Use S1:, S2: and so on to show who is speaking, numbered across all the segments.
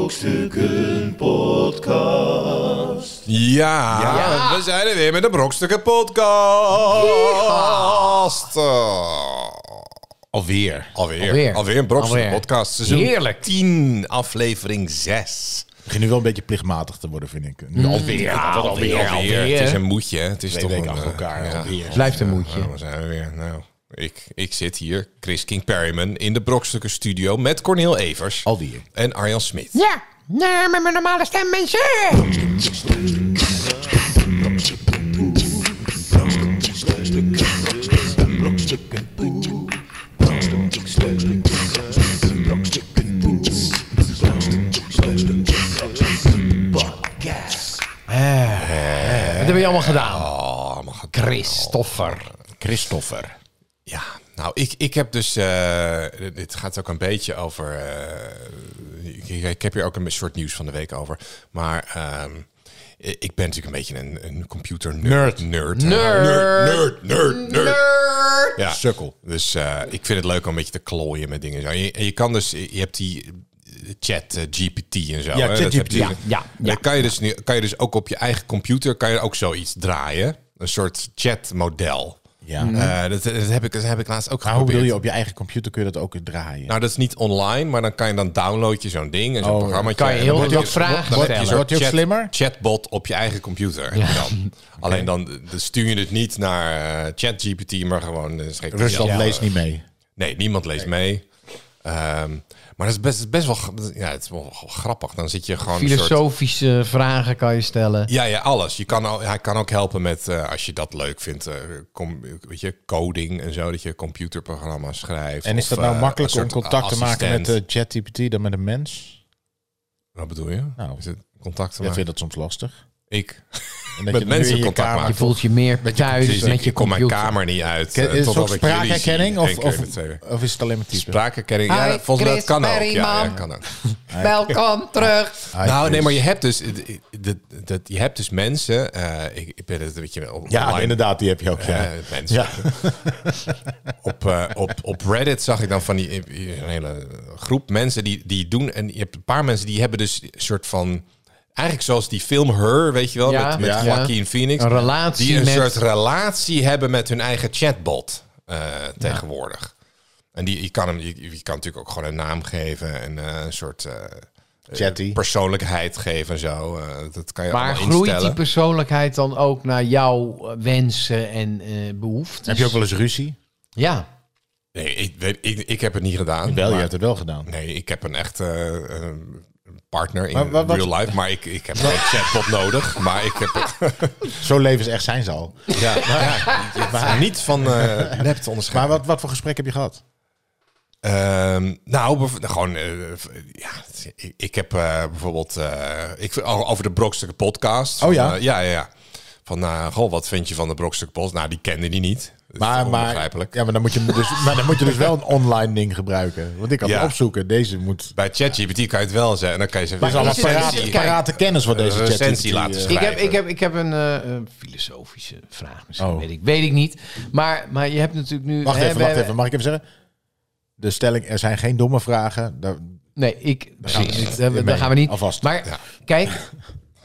S1: Brokstukken Podcast.
S2: Ja, we zijn er weer met de Brokstukken Podcast. Eh,
S3: Alweer.
S2: alweer.
S3: Alweer.
S2: alweer. een Brokstukken
S3: Alweer.
S2: Podcast. Seizoen
S3: Heerlijk.
S2: 10, aflevering 6.
S1: Het begint nu wel een beetje plichtmatig te worden, vind ik. Nu alweer.
S2: Mm. Ja,
S1: dat
S2: alweer,
S3: alweer.
S2: Het is een moedje. hè. Het is
S1: Twee
S2: toch
S1: weken
S2: een,
S1: achter
S2: eh,
S1: elkaar.
S2: ja.
S1: Alweer.
S3: Blijft een moedje.
S2: Nou, daar zijn we weer. Nou, ik, ik zit hier, Chris King Perryman, in de Brokstukken Studio met Cornel Evers.
S1: Alweer.
S2: En Arjan Smit.
S4: Ja, nee, met mijn normale stem,
S2: Eh.
S4: mensen.
S3: Wat hebben we allemaal gedaan?
S2: Oh, mag het-
S3: Christoffer.
S1: Christopher.
S2: Ja, nou, ik, ik heb dus. eh, dit gaat ook een beetje over. eh, ik, ik heb hier ook een soort nieuws van de week over. Maar ehm, ik ben natuurlijk een beetje een, een computer nerd. Nerd. Nerd. Nerd. Nerd. Nerd. Ja.
S1: Sukkel.
S2: Dus eh, ik vind het leuk om een beetje te klooien met dingen. en zo. En je, en je kan dus, je hebt die eh, chat eh, GPT en zo.
S1: Ja,
S2: hè?
S1: chat
S2: Dat heb je-
S1: Ja,
S3: ja,
S2: En Dan kan je, dus nu, kan je dus ook op je eigen computer kan je ook zoiets draaien. Een soort chatmodel.
S1: Ja.
S2: Eh, dat, dat, heb ik, dat heb ik laatst ook
S1: Maar hoe
S2: geprobeerd.
S1: bedoel je, op je eigen computer kun je dat ook draaien?
S2: Nou, dat is niet online, maar dan kan je dan download je zo'n ding en zo'n
S1: Oh,
S2: programma.
S3: kan je heel wat
S2: dus-
S3: vragen stellen.
S1: Wordt die ook slimmer?
S2: Chatbot op je eigen computer. heb je dan. Alleen dan, eh, dan stuur je het niet naar eh, ChatGPT, maar gewoon. eh, schrik-
S1: Rusland
S2: Ja.
S1: leest niet mee.
S2: Nee, niemand leest mee. Ehm, maar dat is best, best wel, ja, het is wel, wel grappig. Dan zit je gewoon een soort...
S3: Filosofische vragen kan je stellen.
S2: Ja, ja, alles. Je kan al, hij kan ook helpen met, eh, als je dat leuk vindt, eh, com- weet je, coding en zo, dat je computerprogramma's schrijft.
S1: En is
S2: Of,
S1: dat nou
S2: eh,
S1: makkelijk
S2: een
S1: om
S2: soort
S1: contact te maken met
S2: assistent.
S1: eh, ChatGPT dan met een mens?
S2: Wat bedoel je?
S1: Nou,
S2: is het contact te
S1: Ik
S2: maken?
S1: vind dat soms lastig.
S2: Ik.
S1: En dat
S2: Met
S1: je nu
S2: mensen
S1: in je
S2: contact
S1: kamer-
S3: Je
S2: maken.
S3: voelt je meer thuis
S2: Precies,
S3: met
S2: ik-
S3: je
S2: ik kom mijn
S3: computer.
S2: kamer niet uit.
S1: Ken-
S2: eh,
S1: Is het
S2: totdat
S1: ook
S2: ik jullie zie.
S1: spraakherkenning
S2: Eén
S1: of,
S2: keer
S1: of,
S2: met twee.
S1: of is het alleen maar typen?
S2: Spraakherkenning, ja,
S4: Hi,
S2: volgens mij
S4: Chris
S2: dat kan ook. Ja,
S4: Berryman.
S2: ja, kan ook.
S4: Welkom terug.
S1: Hi,
S2: nou, nee,
S1: Chris.
S2: maar je hebt dus, het- het- dat, je hebt dus mensen. eh, ik, ik ben het, weet je, wel,
S1: Ja,
S2: online,
S1: inderdaad, die heb je ook.
S2: eh,
S1: Ja.
S2: mensen.
S1: Ja.
S2: Op, eh, op, op Reddit zag ik dan van die eh, een hele groep mensen die, die doen. En je hebt een paar mensen die hebben dus een soort van. Eigenlijk zoals die film Her, weet je wel,
S3: Ja,
S2: met, met
S3: ja.
S2: Joaquin Phoenix.
S3: Een relatie
S2: Die een
S3: met-
S2: soort relatie hebben met hun eigen chatbot eh, tegenwoordig. En die, je, kan hem, je, je kan natuurlijk ook gewoon een naam geven en eh, een soort eh,
S1: Chatty.
S2: persoonlijkheid geven en zo. Eh, dat kan je
S3: Maar
S2: allemaal
S3: groeit die
S2: instellen.
S3: persoonlijkheid dan ook naar jouw eh, wensen en eh, behoeftes?
S1: Heb je ook wel eens ruzie?
S3: Ja.
S2: Nee, ik, weet- ik, ik heb het niet gedaan.
S1: Wel, je
S2: maar-
S1: hebt het wel gedaan.
S2: Nee, ik heb een echte eh, eh, partner in
S1: Maar wa- wat-
S2: real life, maar ik, ik heb geen chatbot nodig. Maar ik heb
S1: Zo leven is echt zijn ze al. Ja, maar,
S2: maar niet van eh nep te
S1: maar
S2: onderscheiden.
S1: wat, wat voor gesprek heb je gehad?
S2: Ehm, nou, bev- nou, gewoon, eh, v- ja, het- ik, ik heb eh, bijvoorbeeld, eh, ik, vind- o- over de Brokstukken podcast.
S1: Oh ja?
S2: Van, eh, ja, ja, ja. Van, eh, goh, wat vind je van de Brokstukken podcast? Nou, die kende die niet. Dat is
S1: Maar, maar,
S2: onbegrijpelijk.
S1: ja, maar, dan moet je dus, maar dan moet je dus wel een online ding gebruiken. Want ik kan
S2: Ja.
S1: opzoeken. Deze moet...
S2: Bij ChatGPT kan je het wel zeggen. En dan kan je zeggen,
S1: Maar is
S2: een
S1: allemaal
S3: is het-
S2: recensie-
S1: parate,
S3: kijk,
S1: parate kennis wat deze chat...
S2: recensie laten
S3: Ik
S2: schrijven.
S3: heb, ik, heb, ik heb een eh, eh, filosofische vraag misschien,
S1: Oh.
S3: weet, ik, weet ik niet. Maar, maar je hebt natuurlijk nu...
S1: Wacht
S3: hè,
S1: even,
S3: Eh, we-
S1: wacht even. Mag ik even zeggen? De stelling, er zijn geen domme vragen. Daar,
S3: Nee, ik.
S1: gaan we
S3: Precies.
S1: niet
S3: Daar,
S1: mee.
S3: daar gaan we niet.
S1: Alvast.
S3: Maar kijk,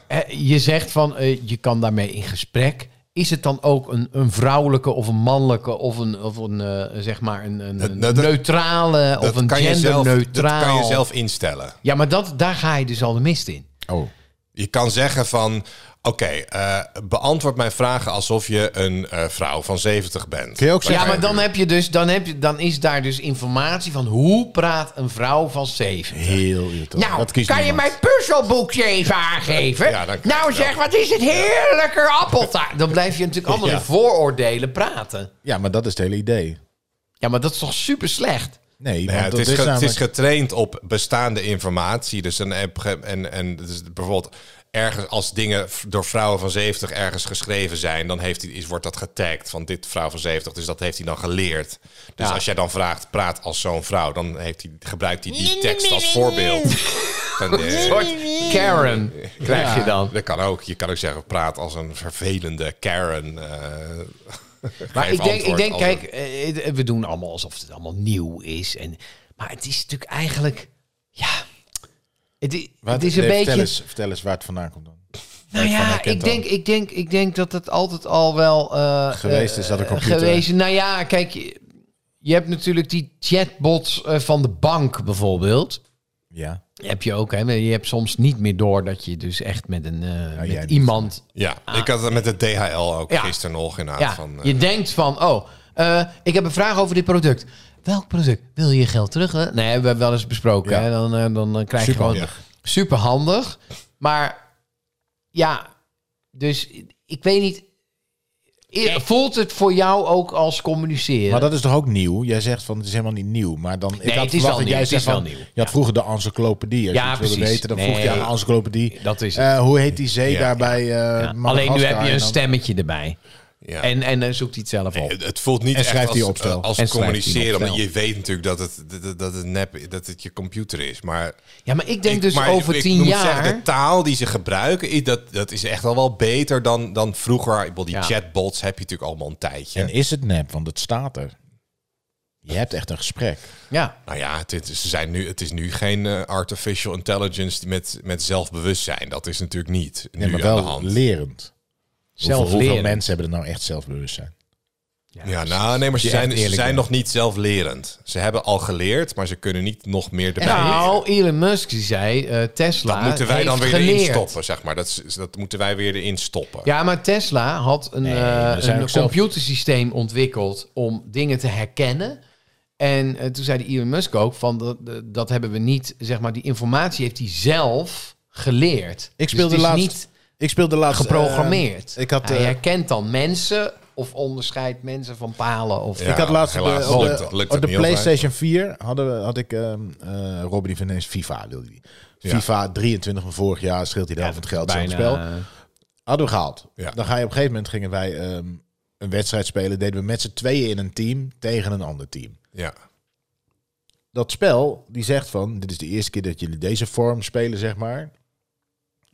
S3: hè, je zegt van eh, je kan daarmee in gesprek. Is het dan ook een, een vrouwelijke of een mannelijke of een, of een eh, zeg maar een, een, een
S2: dat- dat-
S3: neutrale of
S2: dat
S3: een
S2: kan je zelf-
S3: genderneutraal?
S2: Dat kan je zelf instellen.
S3: Ja, maar dat, daar ga je dus al de mist in.
S1: oh,
S2: Je kan zeggen van, oké, eh, beantwoord mijn vragen alsof je een eh, vrouw van 70 bent.
S1: Kun je ook zeggen-
S3: Ja,
S2: Bij
S3: maar dan
S2: mij
S3: heb je dus, dan heb je, dan is daar dus informatie van hoe praat een vrouw van zeven.
S1: heel irritant.
S4: Nou,
S1: Dat
S4: kan
S1: kiest
S4: je
S1: niemand.
S4: mijn puzzelboekje even aangeven?
S2: Ja, dan kan
S4: nou
S2: ik
S4: zeg, wat is het heerlijke appeltaart.
S3: Dan blijf je natuurlijk allemaal
S1: Ja.
S3: in vooroordelen praten.
S1: Ja, maar dat is het hele idee.
S3: Ja, maar dat is toch super slecht?
S1: Nee,
S2: Nou ja,
S1: want
S2: het, is
S1: dat
S2: ge- het is
S1: namelijk-
S2: getraind op bestaande informatie. Dus een app ge- en, en dus bijvoorbeeld ergens als dingen v- door vrouwen van 70 ergens geschreven zijn, dan heeft hij, is, wordt dat getagd van dit vrouw van 70. Dus dat heeft hij dan geleerd. Dus als jij dan vraagt, praat als zo'n vrouw, dan heeft hij, gebruikt hij die tekst als voorbeeld. En, eh,
S3: Karen krijg je dan.
S2: dat kan ook. Je kan ook zeggen, praat als een vervelende Karen. eh,
S3: Maar
S2: geef
S3: ik denk, ik
S2: antwoord
S3: denk
S2: als
S3: kijk,
S2: een-
S3: eh, eh, we doen allemaal alsof het allemaal nieuw is. En, maar het is natuurlijk eigenlijk, ja, Het, i-
S1: Wat-
S3: het is een
S1: nee,
S3: beetje...
S1: Vertel eens, vertel eens waar het vandaan komt dan. Waar
S3: Nou
S1: je het van
S3: ja,
S1: herkent
S3: ik
S1: dan.
S3: denk, ik, denk, ik denk dat het altijd al wel... eh,
S1: Geweest is dat een
S3: eh,
S1: computer.
S3: Geweest. Nou ja, kijk, je- je hebt natuurlijk die chatbots eh, van de bank bijvoorbeeld.
S1: Ja,
S3: Heb je ook, hè? Je hebt soms niet meer door dat je dus echt met, een, eh,
S1: jij
S3: met
S1: niet.
S3: iemand...
S2: Ja, ik had het met de DHL ook
S3: Ah. Ja.
S2: gisteren nog inderdaad.
S3: Ja,
S2: van, eh,
S3: je denkt van, oh, eh, ik heb een vraag over dit product. Welk product? Wil je je geld terug? Hè? Nee, we hebben wel eens besproken.
S1: Ja.
S3: Hè? Dan, eh, dan, dan krijg je gewoon...
S2: Superhandig.
S3: Super handig. Maar ja, dus ik weet niet... I- Voelt het voor jou ook als communiceren?
S1: maar dat is toch ook nieuw? Jij zegt van het is helemaal niet nieuw, maar dan ik
S3: Nee,
S1: had
S3: het is
S1: verwacht
S3: wel
S1: dat
S3: nieuw,
S1: jij
S3: het
S1: zegt
S3: is wel
S1: van
S3: nieuw.
S1: je had vroeger de encyclopedie. Als
S3: Ja,
S1: je iets wilde
S3: precies.
S1: weten, dan vroeg je
S3: Nee. eh,
S1: aan de encyclopedie.
S3: Dat is het.
S1: eh, hoe heet die zee
S2: Ja,
S1: daar bij eh,
S3: Alleen nu
S1: Madagaskar
S3: heb je
S1: en
S3: een
S1: dan-
S3: stemmetje erbij.
S2: eh, ja.
S3: En, en dan zoekt hij het zelf op.
S2: Het- Het voelt niet
S1: En schrijft
S2: echt
S1: die
S2: als,
S1: opstel.
S2: eh, als
S3: En schrijft die
S2: communiceren.
S3: opstel.
S2: Maar je weet natuurlijk dat het, dat, het- dat het nep dat het je computer is. Maar
S3: Ja, maar ik denk dus
S2: maar
S3: over
S2: ik
S3: tien
S2: moet
S3: jaar...
S2: Zeggen, de taal die ze gebruiken, i- dat, dat is echt al wel beter dan, dan vroeger. Ik bedoel, die
S3: Ja.
S2: chatbots heb je natuurlijk allemaal een tijdje.
S1: En is het nep? Want het staat er. Je hebt echt een gesprek.
S3: Ja,
S2: nou ja, het, is- ze zijn nu, het is nu geen eh, artificial intelligence met, met zelfbewustzijn. Dat is natuurlijk niet
S1: Nee,
S2: nu
S1: maar
S2: aan de
S1: wel
S2: hand.
S1: lerend. Hoeveel-
S3: zelf
S1: Hoeveel,
S3: leren.
S1: mensen hebben er nou echt zelfbewustzijn?
S2: Ja, nou nee, maar ze
S1: je echt
S2: zijn, ze
S1: eerlijk
S2: zijn
S1: bent.
S2: nog niet zelflerend. Ze hebben al geleerd, maar ze kunnen niet nog meer erbij leren.
S3: Nou, Elon Musk die zei, eh, Tesla
S2: Dat moeten wij
S3: heeft
S2: dan weer
S3: geleerd.
S2: erin stoppen, zeg maar. Dat, is- dat moeten wij weer erin stoppen.
S3: Ja, maar Tesla had een,
S1: Nee,
S3: eh,
S1: maar er zijn
S3: een
S1: ook zelf-
S3: computersysteem ontwikkeld om dingen te herkennen. En eh, toen zei de Elon Musk ook van dat, dat hebben we niet, zeg maar, die informatie heeft hij zelf geleerd.
S1: Ik speelde
S3: dus het is
S1: laatst-
S3: niet
S1: Ik speelde laatst...
S3: geprogrammeerd.
S1: eh, ik had,
S3: hij
S1: eh,
S3: herkent dan mensen of onderscheidt mensen van palen. Of,
S2: Ja.
S1: ik had laatst op
S2: helaas
S1: de, op
S2: lukt
S1: de,
S2: dat- lukt
S1: op
S2: dat
S1: de
S2: niet altijd.
S1: PlayStation 4 hadden, we- had ik ehm eh Robin die van eens FIFA wilde die. FIFA 23 van vorig jaar scheelt hij de helft van het geld zo'n spel. Hadden we gehaald.
S2: eh, Ja.
S1: Dan ga je op een gegeven moment gingen wij ehm, een wedstrijd spelen. Deden we met z'n tweeën in een team tegen een ander team.
S2: Ja.
S1: dat spel die zegt van dit is de eerste keer dat jullie deze vorm spelen zeg maar.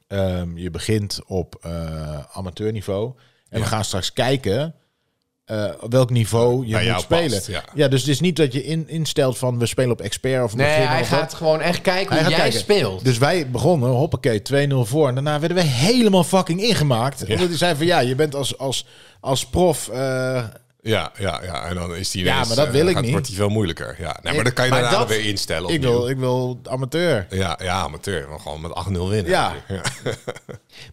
S1: Ehm, je begint op eh, amateurniveau en
S2: Ja.
S1: we gaan straks kijken eh, op welk niveau je
S2: Bij jou
S1: moet spelen.
S2: past, ja.
S1: dus het is niet dat je in, instelt van we spelen op expert of we
S3: Nee,
S1: beginnen
S3: hij
S1: of wat.
S3: gaat gewoon echt kijken
S1: Hij
S3: hoe
S1: gaat
S3: jij
S1: kijken.
S3: speelt.
S1: Dus wij begonnen, hoppakee, 2-0 voor. En daarna werden we helemaal fucking ingemaakt. Omdat hij zei van ja, je bent als, als, als prof... eh,
S2: Ja, ja, ja, en dan is die
S1: Ja,
S2: ineens,
S1: maar dat
S2: eh,
S1: wil ik
S2: gaat-
S1: niet.
S2: Wordt die veel moeilijker. Ja, nee, maar dan kan je
S1: maar
S2: daarna
S1: dat-
S2: weer instellen.
S1: ik,
S2: opnieuw.
S1: wil, ik wil amateur.
S2: Ja, ja, amateur. Maar gewoon met 8-0 winnen.
S1: Ja.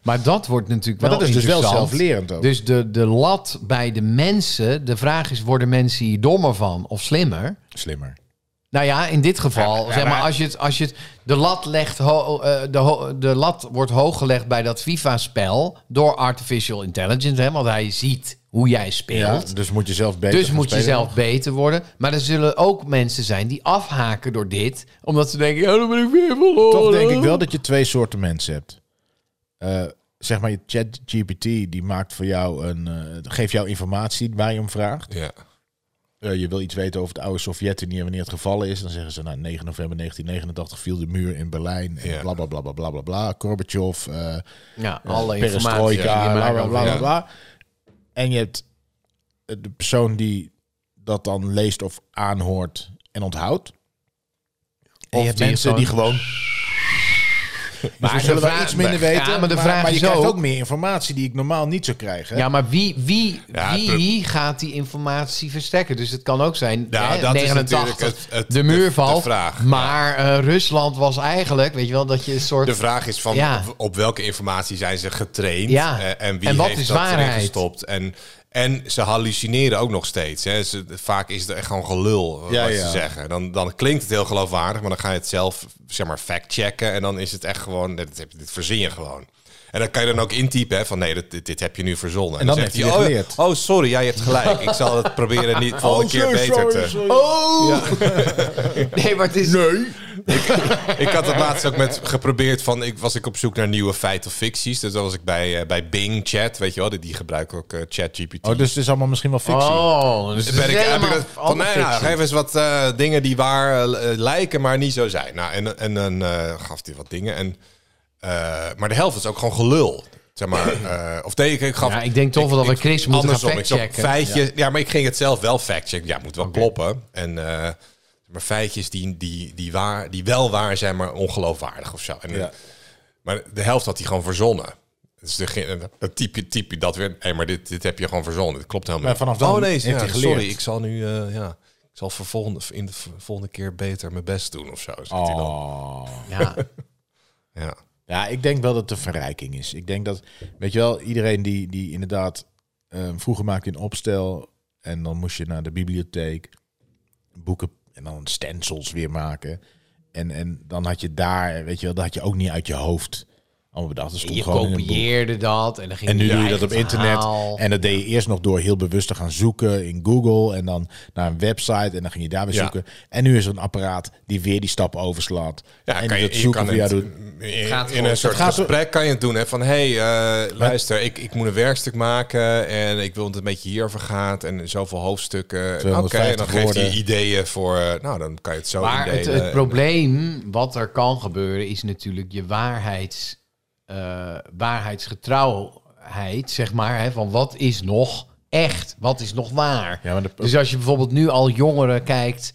S3: Maar dat wordt natuurlijk
S1: Maar
S3: wel
S1: dat is dus wel
S3: interessant.
S1: zelflerend ook.
S3: Dus de, de lat bij de mensen, de vraag is, worden mensen hier dommer van of slimmer?
S1: Slimmer.
S3: Nou ja, in dit geval, zeg maar, als je het, als je het, de lat legt, ho- eh, de, ho- de lat wordt hooggelegd bij dat FIFA-spel door artificial intelligence, hè, want hij ziet hoe jij
S1: Ja,
S3: speelt.
S1: dus moet je zelf beter
S3: Dus
S1: gaan
S3: moet je
S1: spelen.
S3: zelf beter worden. Maar er zullen ook mensen zijn die afhaken door dit. Omdat ze denken, oh, dan ben ik weer verloren.
S1: Toch denk ik wel dat je twee soorten mensen hebt. Eh, zeg maar, je ChatGPT die maakt voor jou een, eh, geeft jou informatie waar je om vraagt.
S2: ja.
S1: Eh, je wil iets weten over de oude Sovjet-Unie en wanneer het gevallen is. Dan zeggen ze, nou, 9 november 1989 viel de muur in Berlijn. En
S2: Ja.
S1: bla, bla, bla, bla, bla, bla, bla. Gorbachev, eh
S3: Ja, alle informatie. die je
S1: perestroika, bla,
S3: maar
S1: bla,
S3: over-
S1: bla, bla,
S2: ja.
S1: bla. En je hebt eh, de persoon die dat dan leest of aanhoort en onthoudt.
S3: je
S1: Of
S3: hebt die
S1: mensen die
S3: gewoon-
S1: gewoon... Maar
S2: Dus
S1: we zullen
S3: de
S1: wel
S3: vraag-
S1: iets minder weten.
S3: Ja, maar de vraag
S1: maar je
S3: is
S1: krijgt
S3: ook-
S1: ook meer informatie die ik normaal niet zou krijgen.
S3: Ja, maar wie, wie,
S2: Ja,
S3: wie gaat die informatie verstekken? Dus het kan ook zijn,
S2: Ja,
S3: hè,
S2: dat is
S3: 89,
S2: natuurlijk het- het-
S3: de muur
S2: de-
S3: valt.
S2: de vraag, ja.
S3: maar eh, Rusland was eigenlijk, weet je wel, dat je een soort...
S2: De vraag is van
S3: Ja.
S2: op- op welke informatie zijn ze getraind
S3: Ja.
S2: eh, en wie
S3: En wat
S2: heeft
S3: is
S2: dat erin
S3: waarheid?
S2: gestopt. En, en ze hallucineren ook nog steeds. Hè. Ze, vaak is het echt gewoon gelul eh,
S1: Ja,
S2: wat ze
S1: ja.
S2: zeggen. Dan, dan klinkt het heel geloofwaardig, maar dan ga je het zelf zeg maar fact-checken. En dan is het echt gewoon, dit, heb- dit verzin je gewoon. En dan kan je dan ook intypen hè, van nee, dit, dit, dit heb je nu verzonnen.
S1: En dan
S2: zegt
S1: heeft hij
S2: oh,
S1: dit
S2: ja,
S1: geleerd.
S2: oh, sorry, jij hebt gelijk. Ik zal het proberen niet volgende keer beter te...
S1: Oh!
S3: Nee, maar het is... Nee.
S2: Ik had het laatst ook met geprobeerd van, ik was ik op zoek naar nieuwe feiten of ficties. Dus dan was ik bij, eh, bij Bing Chat, weet je wel, die, die gebruiken ook eh, ChatGPT.
S1: Oh, dus het is allemaal misschien wel fictie.
S3: Oh, dus
S2: ben ik, heb ik
S3: helemaal
S2: dat- van, nee, nou,
S3: fictie.
S2: geef eens wat eh, dingen die waar eh, eh, lijken, maar niet zo zijn. Nou, en, en dan eh, gaf hij wat dingen. En, eh, maar de helft is ook gewoon gelul. Zeg maar, eh, of nee, ik, ik gaf...
S3: Ja, ik denk toch wel dat we Chris moeten gaan
S2: andersom, ik zag
S3: factchecken.
S2: feitjes- ja. maar ik ging het zelf wel factchecken. Ja, moet wel kloppen. En... eh, maar feitjes die, die, die, waar, die wel waar zijn, maar ongeloofwaardig of zo. En,
S1: Ja.
S2: Maar de helft had hij gewoon verzonnen. Dus de, dat typ je- typ je dat weer. Hé, maar dit, dit heb je gewoon verzonnen. Dit klopt helemaal
S1: Maar vanaf dan
S2: oh nee,
S1: heeft
S2: ja,
S1: hij geleerd.
S2: sorry. Ik zal nu, eh, ja, ik zal voor volgende, in de v- volgende keer beter mijn best doen of zo. zegt hij dan.
S1: Oh.
S3: Ja.
S2: Ja.
S1: Ja, ik denk wel dat het een verrijking is. Ik denk dat, weet je wel, iedereen die, die inderdaad eh, vroeger maakte een opstel en dan moest je naar de bibliotheek boeken en dan stencils weer maken. En, en dan had je daar, weet je wel, dat had je ook niet uit je hoofd allemaal bedacht. Dat stond
S3: Je
S1: gewoon in een boek.
S3: kopieerde dat en dan ging
S1: En nu
S3: je
S1: doe je dat
S3: eigen
S1: op internet.
S3: verhaal.
S1: En dat deed je eerst nog door heel bewust te gaan zoeken in Google. En dan naar een website. En dan ging je daar weer
S2: Ja.
S1: zoeken. En nu is er een apparaat die weer die stap overslaat.
S2: Ja,
S1: en die
S2: kan je,
S1: dat
S2: je
S1: zoeken
S2: kan
S1: via
S2: het,
S1: doen.
S2: in,
S3: Gaat
S2: in
S3: gewoon.
S2: een soort
S1: Het gaat zo-
S2: gesprek kan je het doen. Hè, van, hé, hey, eh, luister, ik, ik moet een werkstuk maken en ik wil dat het een beetje hierover gaat en zoveel hoofdstukken. En Oké, en dan
S1: 250
S2: geeft hij
S1: woorden.
S2: ideeën voor, eh, nou, dan kan je het zo
S3: Maar het,
S2: indelen.
S3: het probleem wat er kan gebeuren is natuurlijk je waarheids, eh, waarheidsgetrouwheid, zeg maar. Hè, van wat is nog echt? Wat is nog waar?
S1: Ja, maar de-
S3: Dus als je bijvoorbeeld nu al jongeren kijkt,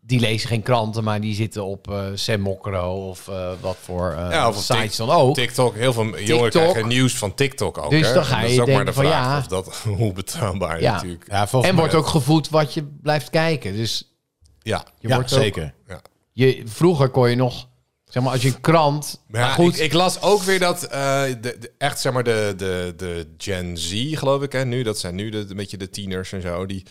S3: die lezen geen kranten, maar die zitten op eh Sam Mokro of eh, wat voor eh,
S2: Ja, of op
S3: sites
S2: Tik-
S3: dan ook.
S2: TikTok, heel veel jongeren
S3: TikTok.
S2: krijgen nieuws van TikTok ook.
S3: Dus
S2: hè.
S3: dan ga
S2: En dat
S3: je
S2: is ook maar de
S3: denken van,
S2: vraag
S3: ja.
S2: of dat, hoe betrouwbaar
S3: Ja.
S2: natuurlijk.
S1: Ja, volgens
S3: En
S1: mij-
S3: wordt ook gevoed wat je blijft kijken. Dus
S2: Ja,
S3: je
S1: ja,
S3: wordt ook-
S1: zeker.
S2: ja.
S3: je, vroeger kon je nog, zeg maar, als je een krant.
S2: Maar
S3: Maar,
S2: ja,
S3: goed,
S2: Ik, ik las ook weer dat eh, de, de- echt zeg maar de, de, de Gen Z, geloof ik, hè, nu, dat zijn nu de, de- een beetje de tieners en zo, die,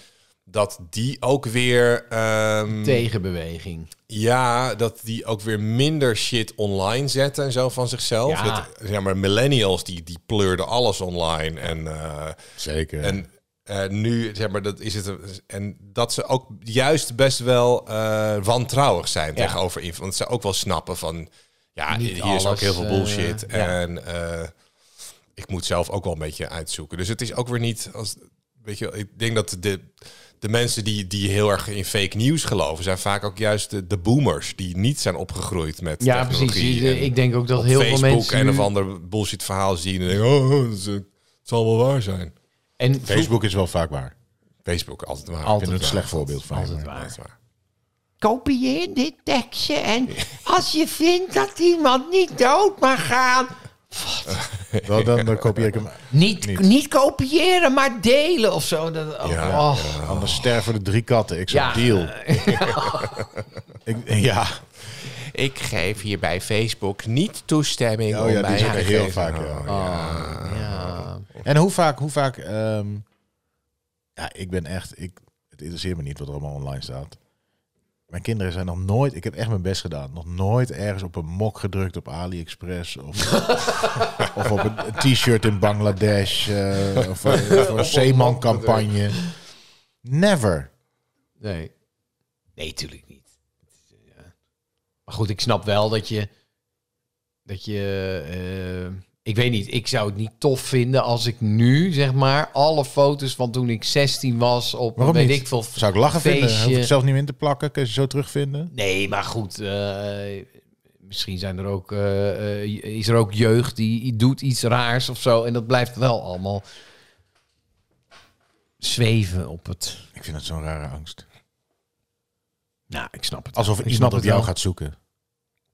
S2: dat die ook weer, ehm,
S3: tegenbeweging.
S2: ja, dat die ook weer minder shit online zetten en zo van zichzelf.
S3: Ja.
S2: Dat, zeg maar, millennials, die, die pleurden alles online en... eh,
S1: Zeker.
S2: En eh, nu, zeg maar, dat is het. En dat ze ook juist best wel eh, wantrouwig zijn tegenover info. Want ze ook wel snappen van. Ja,
S3: Niet
S2: hier
S3: alles,
S2: is ook heel veel
S3: eh,
S2: bullshit.
S3: ja.
S2: En eh, ik moet zelf ook wel een beetje uitzoeken. Dus het is ook weer niet. Als, weet je, wel, ik denk dat de. De mensen die, die heel erg in fake nieuws geloven, zijn vaak ook juist de, de boomers die niet zijn opgegroeid met.
S3: Ja,
S2: technologie
S3: precies. Je-
S2: en-
S3: ik denk ook dat
S2: op
S3: heel
S2: Facebook
S3: veel mensen.
S2: en
S3: nu-
S2: of ander bullshit verhaal zien en denken, oh, het, is, eh, het zal wel waar zijn.
S3: en vroeg-
S1: Facebook is wel vaak waar.
S2: Facebook altijd maar.
S1: Ik vind het een slecht voorbeeld van.
S3: Altijd
S1: maar-
S3: waar.
S4: Kopieer dit tekstje en als je vindt dat iemand niet dood mag gaan,
S1: Wel, dan, dan kopieer ik hem.
S3: Niet,
S1: Niet.
S4: niet kopiëren, maar delen.
S3: delen of zo. Dat, oh,
S2: Ja,
S3: oh.
S1: Anders sterven de drie katten. Ik zeg
S3: Ja.
S1: deal. ik, ja.
S2: Ik geef hier bij Facebook niet toestemming
S1: Oh ja, die is ook heel vaak. ja.
S3: Oh. Ja.
S1: En hoe vaak, hoe vaak... ehm, ja, ik ben echt... Ik, het interesseert me niet wat er allemaal online staat. Mijn kinderen zijn nog nooit... Ik heb echt mijn best gedaan. Nog nooit ergens op een mok gedrukt op AliExpress. Of, of op een t-shirt in Bangladesh. eh, of eh, voor een zeemancampagne. Never.
S3: Nee. Nee, tuurlijk niet. eh, Ja. Maar goed, ik snap wel dat je. Dat je. eh, ik weet niet, ik zou het niet tof vinden als ik nu, zeg maar, alle foto's van toen ik 16 was op.
S1: Waarom
S3: weet
S1: niet?
S3: ik veel.
S1: Zou ik lachen vinden? Hoef ik
S3: feestje.
S1: het zelf niet in te plakken? Kun je ze zo terugvinden?
S3: Nee, maar goed. eh, misschien zijn er ook, eh, eh, is er ook jeugd die doet iets raars of zo. En dat blijft wel allemaal zweven op het...
S1: Ik vind dat zo'n rare angst.
S3: Nou, ik snap het.
S1: Alsof
S3: Ik snap
S1: iemand op
S3: het
S1: jou
S3: wel.
S1: gaat zoeken.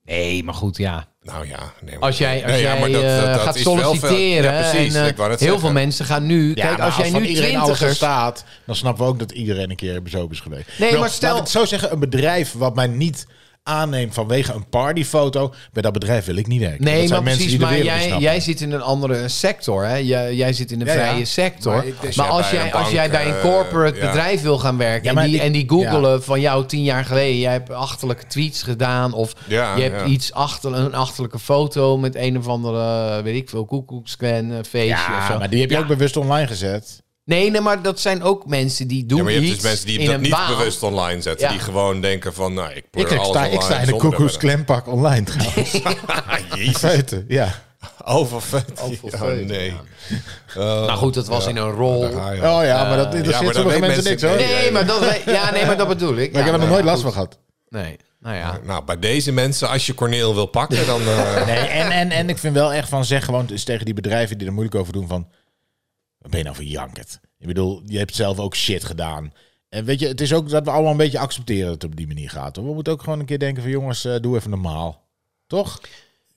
S3: Nee, maar goed, ja.
S2: Nou ja, nee, maar-
S3: Als jij, als
S2: Nee, ja,
S3: jij
S2: maar dat-
S3: eh,
S2: dat- dat
S3: gaat
S2: is wel veel-
S3: solliciteren...
S2: Ja, precies.
S3: en, eh,
S2: Ik wou net
S3: heel
S2: zeggen.
S3: veel mensen gaan nu... kijk,
S1: maar
S3: als jij
S1: van
S3: nu
S1: iedereen alles
S3: twintigers...
S1: staat, dan snappen we ook dat iedereen een keer bezopen is geweest. Ik
S3: maar stel-
S1: Laat ik het zo zeggen, een bedrijf wat mij niet aanneemt vanwege een partyfoto, bij dat bedrijf wil ik niet werken.
S3: Nee,
S1: dat
S3: maar
S1: zijn mensen
S3: precies,
S1: die de
S3: maar
S1: wereld niet
S3: jij,
S1: snappen.
S3: jij zit in een andere sector. Hè? Jij, jij zit in een
S1: Ja, ja.
S3: vrije sector.
S1: Maar
S3: Maar,
S1: ik- als
S2: jij
S3: als,
S2: bij
S3: jij,
S2: een
S3: als jij
S2: bank,
S3: bij een
S2: eh,
S3: corporate
S2: ja.
S3: bedrijf wil gaan werken...
S1: Ja,
S3: en,
S1: maar
S3: die,
S1: ik-
S3: en die googelen van jou tien jaar geleden... jij hebt achterlijke tweets gedaan... of
S2: Ja,
S3: je hebt
S2: ja.
S3: iets achter, een achterlijke foto... met een of andere, weet ik veel, koekoekscan feestje of zo.
S1: ja, maar die heb je
S3: Ja.
S1: ook bewust online gezet.
S3: Nee, nee, maar dat zijn ook mensen die doen
S2: Ja, maar je hebt
S3: iets
S2: dus mensen die
S3: in
S2: dat
S3: een
S2: niet
S3: baan.
S2: bewust online zetten.
S3: Ja.
S2: Die gewoon denken van, nou, ik pleur
S1: Ik,
S2: alles
S1: sta,
S2: online.
S1: ik sta in een
S2: zonder
S1: koekoeksklempak online trouwens.
S2: hebben. Ah, Jezus,
S1: Feiten, ja.
S2: overvet.
S3: Overvet,
S2: Oh, nee. Eh,
S3: ja. Nou goed, dat was in een rol.
S2: Ah, ja.
S1: Oh ja, maar dat
S2: maar
S1: interesseert
S2: dat
S1: sommige
S2: weet
S1: mensen
S2: mensen-
S1: niks hoor.
S2: Nee.
S3: Nee, maar dat, ja, nee, maar dat bedoel ik.
S1: Maar ik
S3: Ja,
S1: heb er nog
S3: nou
S1: nooit
S3: ja,
S1: last van
S3: goed.
S1: gehad.
S3: Nee, nou ja.
S2: Nou, bij deze mensen, als je Corneel wil pakken, dan... eh,
S1: Nee, en, en, en ik vind wel echt van zeg gewoon eens tegen die bedrijven die er moeilijk over doen van... Wat ben je nou voor jankert? Ik bedoel, je hebt zelf ook shit gedaan. En weet je, het is ook dat we allemaal een beetje accepteren dat het op die manier gaat. hoor. We moeten ook gewoon een keer denken van jongens, eh, doe even normaal. Toch?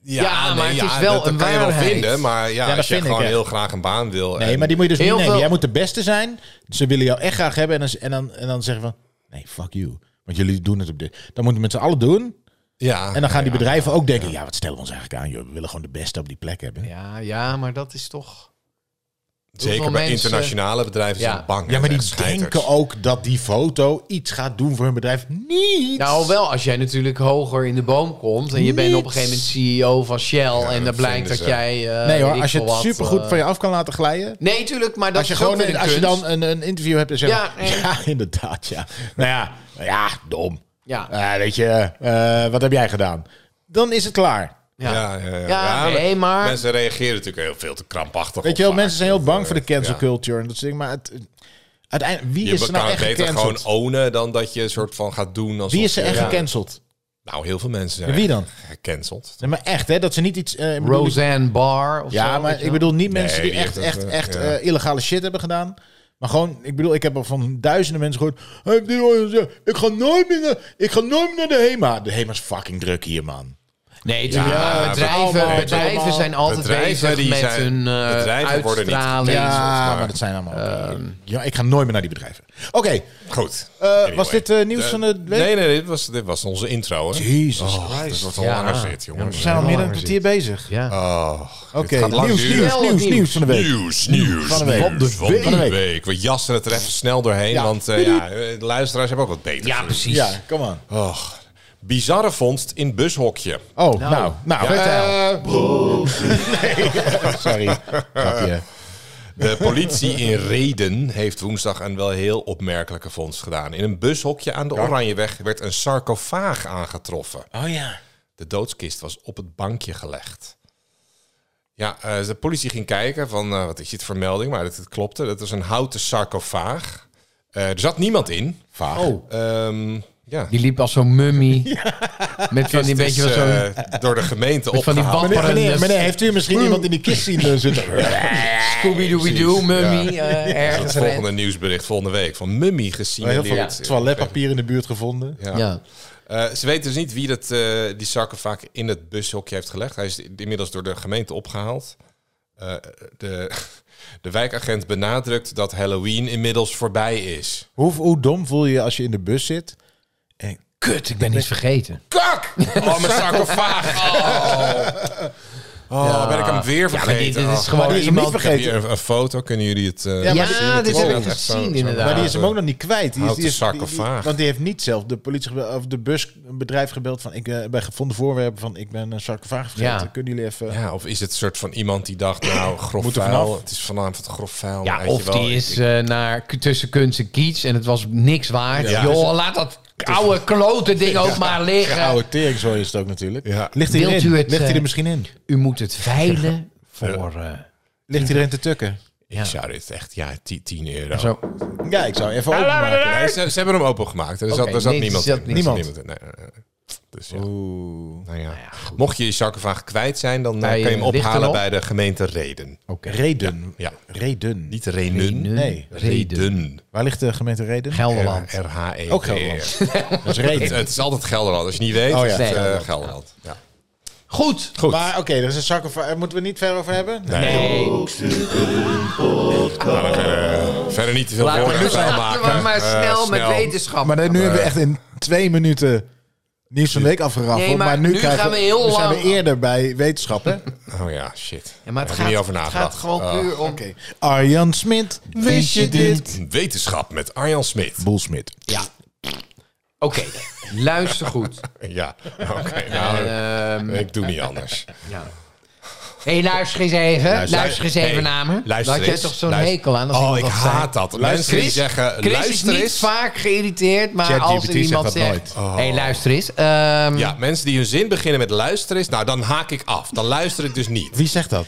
S3: Ja, maar het is wel
S2: dat, dat
S3: een
S2: kan je wel
S3: waarheid.
S2: vinden, maar ja,
S1: dat
S2: als je
S1: vind ik
S2: gewoon
S1: echt.
S2: heel graag een baan wil.
S1: Nee,
S2: en-
S1: maar die moet je dus
S3: Heel
S1: niet nemen.
S3: veel-
S1: Jij moet de beste zijn. Ze willen jou echt graag hebben. En dan, en dan, en dan zeggen van, nee, fuck you. Want jullie doen het op dit. Dan moeten we met z'n allen doen.
S2: ja,
S1: En dan gaan die
S2: ja.
S1: bedrijven ook denken, ja, wat stellen we ons eigenlijk aan? Joh? We willen gewoon de beste op die plek hebben.
S3: Ja, ja, maar dat is toch...
S2: Zeker
S3: Hoeveel
S2: bij
S3: mensen-
S2: internationale bedrijven
S3: Ja.
S2: zijn bang.
S1: Ja, maar die
S2: en scheiters.
S1: denken ook dat die foto iets gaat doen voor hun bedrijf. Niet.
S3: Nou, wel als jij natuurlijk hoger in de boom komt... en je bent op een gegeven moment CEO van Shell... en dan
S2: dat
S3: blijkt dat
S2: vinden ze.
S3: jij... eh,
S1: nee
S3: weet
S1: hoor,
S3: ik
S1: als je
S3: veel
S1: het
S3: wat,
S1: supergoed
S3: eh,
S1: van je af kan laten glijden.
S3: Nee, tuurlijk, maar dat
S1: als je,
S3: is
S1: gewoon
S3: ook weer
S1: in-
S3: een
S1: als je
S3: kunst.
S1: dan een, een interview hebt en zegt... Ja,
S3: Ja, nee.
S1: inderdaad, ja. Nou ja, ja dom.
S3: Ja.
S1: Eh, weet je, eh, wat heb jij gedaan? Dan is het klaar.
S3: Ja.
S2: Ja, ja, ja.
S3: Ja, nee, maar-
S2: Mensen reageren natuurlijk heel veel te krampachtig.
S1: Weet
S2: op
S1: je wel,
S2: vaak.
S1: mensen zijn heel bang voor de cancel
S2: Ja.
S1: culture en dat soort dingen. Maar het, uiteindelijk, wie is
S2: Je
S1: er nou
S2: kan het
S1: echt
S2: beter
S1: gecanceld?
S2: gewoon ownen dan dat je een soort van gaat doen als.
S1: Wie is er echt
S2: ja.
S1: gecanceld?
S2: Nou, heel veel mensen zijn
S1: En wie dan?
S2: gecanceld.
S1: Nee, maar echt, hè? Dat ze niet iets... eh, ik bedoel,
S3: Roseanne Barr of zo,
S1: Ja,
S3: weet
S1: maar
S3: je
S1: ik
S3: wel.
S1: bedoel niet mensen
S2: Nee,
S1: die
S2: die
S1: echt,
S2: heeft
S1: echt,
S2: dat, eh,
S1: echt
S2: ja.
S1: eh, illegale shit hebben gedaan. Maar gewoon, ik bedoel, ik heb al van duizenden mensen gehoord. "Hij heeft dit ooit gezegd. Ik ga nooit meer naar, ik ga nooit meer naar de HEMA. De HEMA is fucking druk hier, man.
S3: Nee, tuurlijk,
S2: Ja,
S3: maar eh, bedrijven,
S1: allemaal-
S3: bedrijven zijn altijd
S2: Bedrijven die
S3: bezig met
S2: zijn-
S3: hun eh,
S2: bedrijven worden niet
S3: uitstraling.
S2: gecanceld.
S1: Ja,
S2: maar-
S1: maar, dat zijn allemaal...
S2: Ehm.
S1: ja, ik ga nooit meer naar die bedrijven. Oké,
S2: Goed.
S1: eh,
S2: Anyway.
S1: was dit eh, nieuws van de week?
S2: Nee, nee, dit was, dit was onze intro. Hè?
S1: Jezus
S2: Oh,
S1: Christus.
S2: dit wordt al
S3: Ja.
S2: langer zit, jongens.
S1: We zijn al meer dan een
S3: langer
S1: kwartier bezig.
S3: Ja.
S2: Oh, dit
S1: Oké,
S2: gaat lang
S1: nieuws, nieuws, nieuws,
S2: duren.
S3: Snel
S1: nieuws van de week.
S2: Nieuws, nieuws,
S1: Van de week.
S2: nieuws van de
S1: Van de week.
S2: week. We jassen het er even snel doorheen,
S1: Ja.
S2: want eh, ja, de luisteraars hebben ook wat beter.
S3: ja,
S2: voor
S3: precies.
S1: Ja, kom aan.
S2: u. Och, bizarre vondst in bushokje.
S1: Oh, nou, nou, vertel.
S2: Eh,
S1: Nee, sorry. Grapje.
S2: De politie in Reden heeft woensdag een wel heel opmerkelijke vondst gedaan. In een bushokje aan de Oranjeweg werd een sarcofaag aangetroffen.
S1: Oh ja.
S2: De doodskist was op het bankje gelegd. Ja, eh, de politie ging kijken van eh, wat is dit voor melding, maar dat het klopte. Dat was een houten sarcofaag. Eh, er zat niemand in.
S1: Vaag.
S3: Oh,
S2: Ehm, ja.
S3: die liep als zo'n mummie. Met van die
S2: Het
S3: beetje
S2: is,
S3: zo'n...
S2: eh, door de gemeente
S3: met van die
S2: opgehaald.
S1: Meneer,
S3: wapperende
S1: meneer, meneer, heeft u misschien iemand in die kist zien eh, zitten?
S2: eh,
S3: Scooby-Dooby-Doo, mummie, eh,
S2: Dat is
S3: ergens.
S2: het
S3: recht.
S2: volgende nieuwsbericht volgende week van mummie
S1: Heel veel
S2: gesignaleerd.
S1: toiletpapier in de buurt gevonden.
S2: Ja.
S3: Ja.
S2: Eh, ze weten dus niet wie dat, eh, die sarcofaag in het bushokje heeft gelegd. Hij is inmiddels door de gemeente opgehaald. Eh, de, de wijkagent benadrukt dat Halloween inmiddels voorbij is.
S1: Hoe, hoe dom voel je je als je in de bus zit?
S3: Kut, ik ben iets vergeten.
S2: Kak! Oh, mijn sarcofaag! Oh, oh ben ik hem weer
S3: Ja, maar dit,
S2: vergeten.
S3: dit is
S1: Maar
S2: Oh.
S3: gewoon
S1: die is hem niet
S3: iemand...
S2: Ik heb
S1: vergeten.
S2: hier een, een foto, kunnen jullie het... eh,
S1: Ja,
S3: Ja,
S1: maar dit-
S2: het
S3: dit
S2: is
S3: heb
S2: echt
S3: ik
S2: zo-
S3: gezien,
S2: zo-
S3: inderdaad.
S1: Maar die is hem ook nog niet kwijt. Die is,
S2: Houten
S1: die is, die- die-
S2: sarcofaag.
S1: want die heeft niet zelf de politie gebeld- of de busbedrijf gebeld van ik eh, bij gevonden voorwerpen van ik ben een sarcofaag vergeten.
S3: Ja.
S1: Kunnen jullie even?
S2: Ja, of is het een soort van iemand die dacht, nou, grof
S1: Moet er
S2: vuil.
S1: vanaf.
S2: Het is vanavond grof vuil.
S3: Ja,
S2: maar weet
S3: of
S2: je wel,
S3: die
S2: ik-
S3: is eh, naar k- tussen kunst en kiets en het was niks waard.
S2: Ja.
S3: Joh, laat dat oude klote ding ook maar liggen.
S1: Oude teringzooi is het ook natuurlijk.
S2: Ja.
S1: Ligt hij
S3: Wilt
S1: erin?
S3: u het,
S1: Ligt hij er
S3: eh,
S1: misschien in?
S3: U moet het veilen voor... eh,
S1: Ligt hij erin te tukken?
S2: Ik zou dit echt, ja, 10 euro.
S3: zo.
S1: Ja, ik zou even openmaken.
S2: Nee, ze, ze hebben hem opengemaakt. Er zat,
S3: Oké,
S2: er zat
S3: nee,
S2: niemand
S3: er zat
S2: in. Er
S1: niemand.
S2: zat in. Nee, nee, nee. Dus ja.
S1: Oeh.
S2: Nou ja. Mocht je je sarcofaag kwijt zijn, dan eh,
S3: Bij,
S2: kan je hem
S3: eh, lichten
S2: ophalen
S3: op.
S2: bij de gemeente Reden.
S3: Oké.
S1: Reden.
S2: Ja.
S1: Reden.
S2: Niet Renen.
S3: Renen.
S1: Nee.
S3: Reden.
S2: Reden.
S1: Waar ligt de gemeente Reden?
S3: Gelderland.
S2: E R- R-H-E-D-E-R.
S1: Ook Gelderland. Dat is Reden.
S2: Het, het is altijd Gelderland. Als je niet weet,
S1: Oh ja.
S2: is het, eh,
S3: Nee.
S2: Gelderland. Ja.
S3: Goed.
S2: Goed.
S1: Maar oké, er is een sarcofaag. Moeten we het niet verder over hebben?
S2: Nou, dan, eh, verder niet te veel
S3: Laten we,
S2: woorden vuil
S3: laten we
S2: maken.
S3: maar
S2: Eh,
S3: snel met
S2: snel.
S3: wetenschap.
S1: Maar eh, nee, nu hebben we echt in twee minuten nieuws van de week afgeraffeld.
S3: Nee,
S1: maar,
S3: maar
S1: nu,
S3: nu
S1: krijgen
S3: gaan we heel
S1: nu zijn we
S3: lang-
S1: eerder bij wetenschappen.
S2: Oh ja, shit.
S3: Ja, maar het
S2: Daar heb ik niet
S3: gaat,
S2: over
S3: het
S2: nagedacht.
S3: gaat gewoon
S2: Oh.
S3: puur om...
S1: Arjan Smit, wist je dit?
S2: Wetenschap met Arjan Smit.
S1: Boelsmit.
S3: Ja. Oké, luister goed.
S2: Ja, oké. nou,
S3: Ehm,
S2: ik doe niet anders.
S3: ja. hey, luister eens even. Luister, eens even
S2: Hey,
S3: naar me.
S2: Luister
S3: Daar had jij
S2: eens.
S3: toch zo'n
S2: Luister-
S3: hekel aan? als
S2: Oh,
S3: iemand
S2: ik
S3: dat zei?
S2: haat dat. Mensen die
S3: Chris,
S2: zeggen,
S3: Chris is
S2: luister
S3: niet
S2: eens.
S3: vaak geïrriteerd, maar
S1: ChatGPT
S3: als er
S1: zegt
S3: iemand
S1: dat
S3: zegt...
S1: nooit.
S2: Oh.
S3: hey, luister eens. ehm,
S2: Ja, mensen die hun zin beginnen met luister eens. Nou, dan haak ik af. Dan luister ik dus niet.
S1: Wie zegt dat?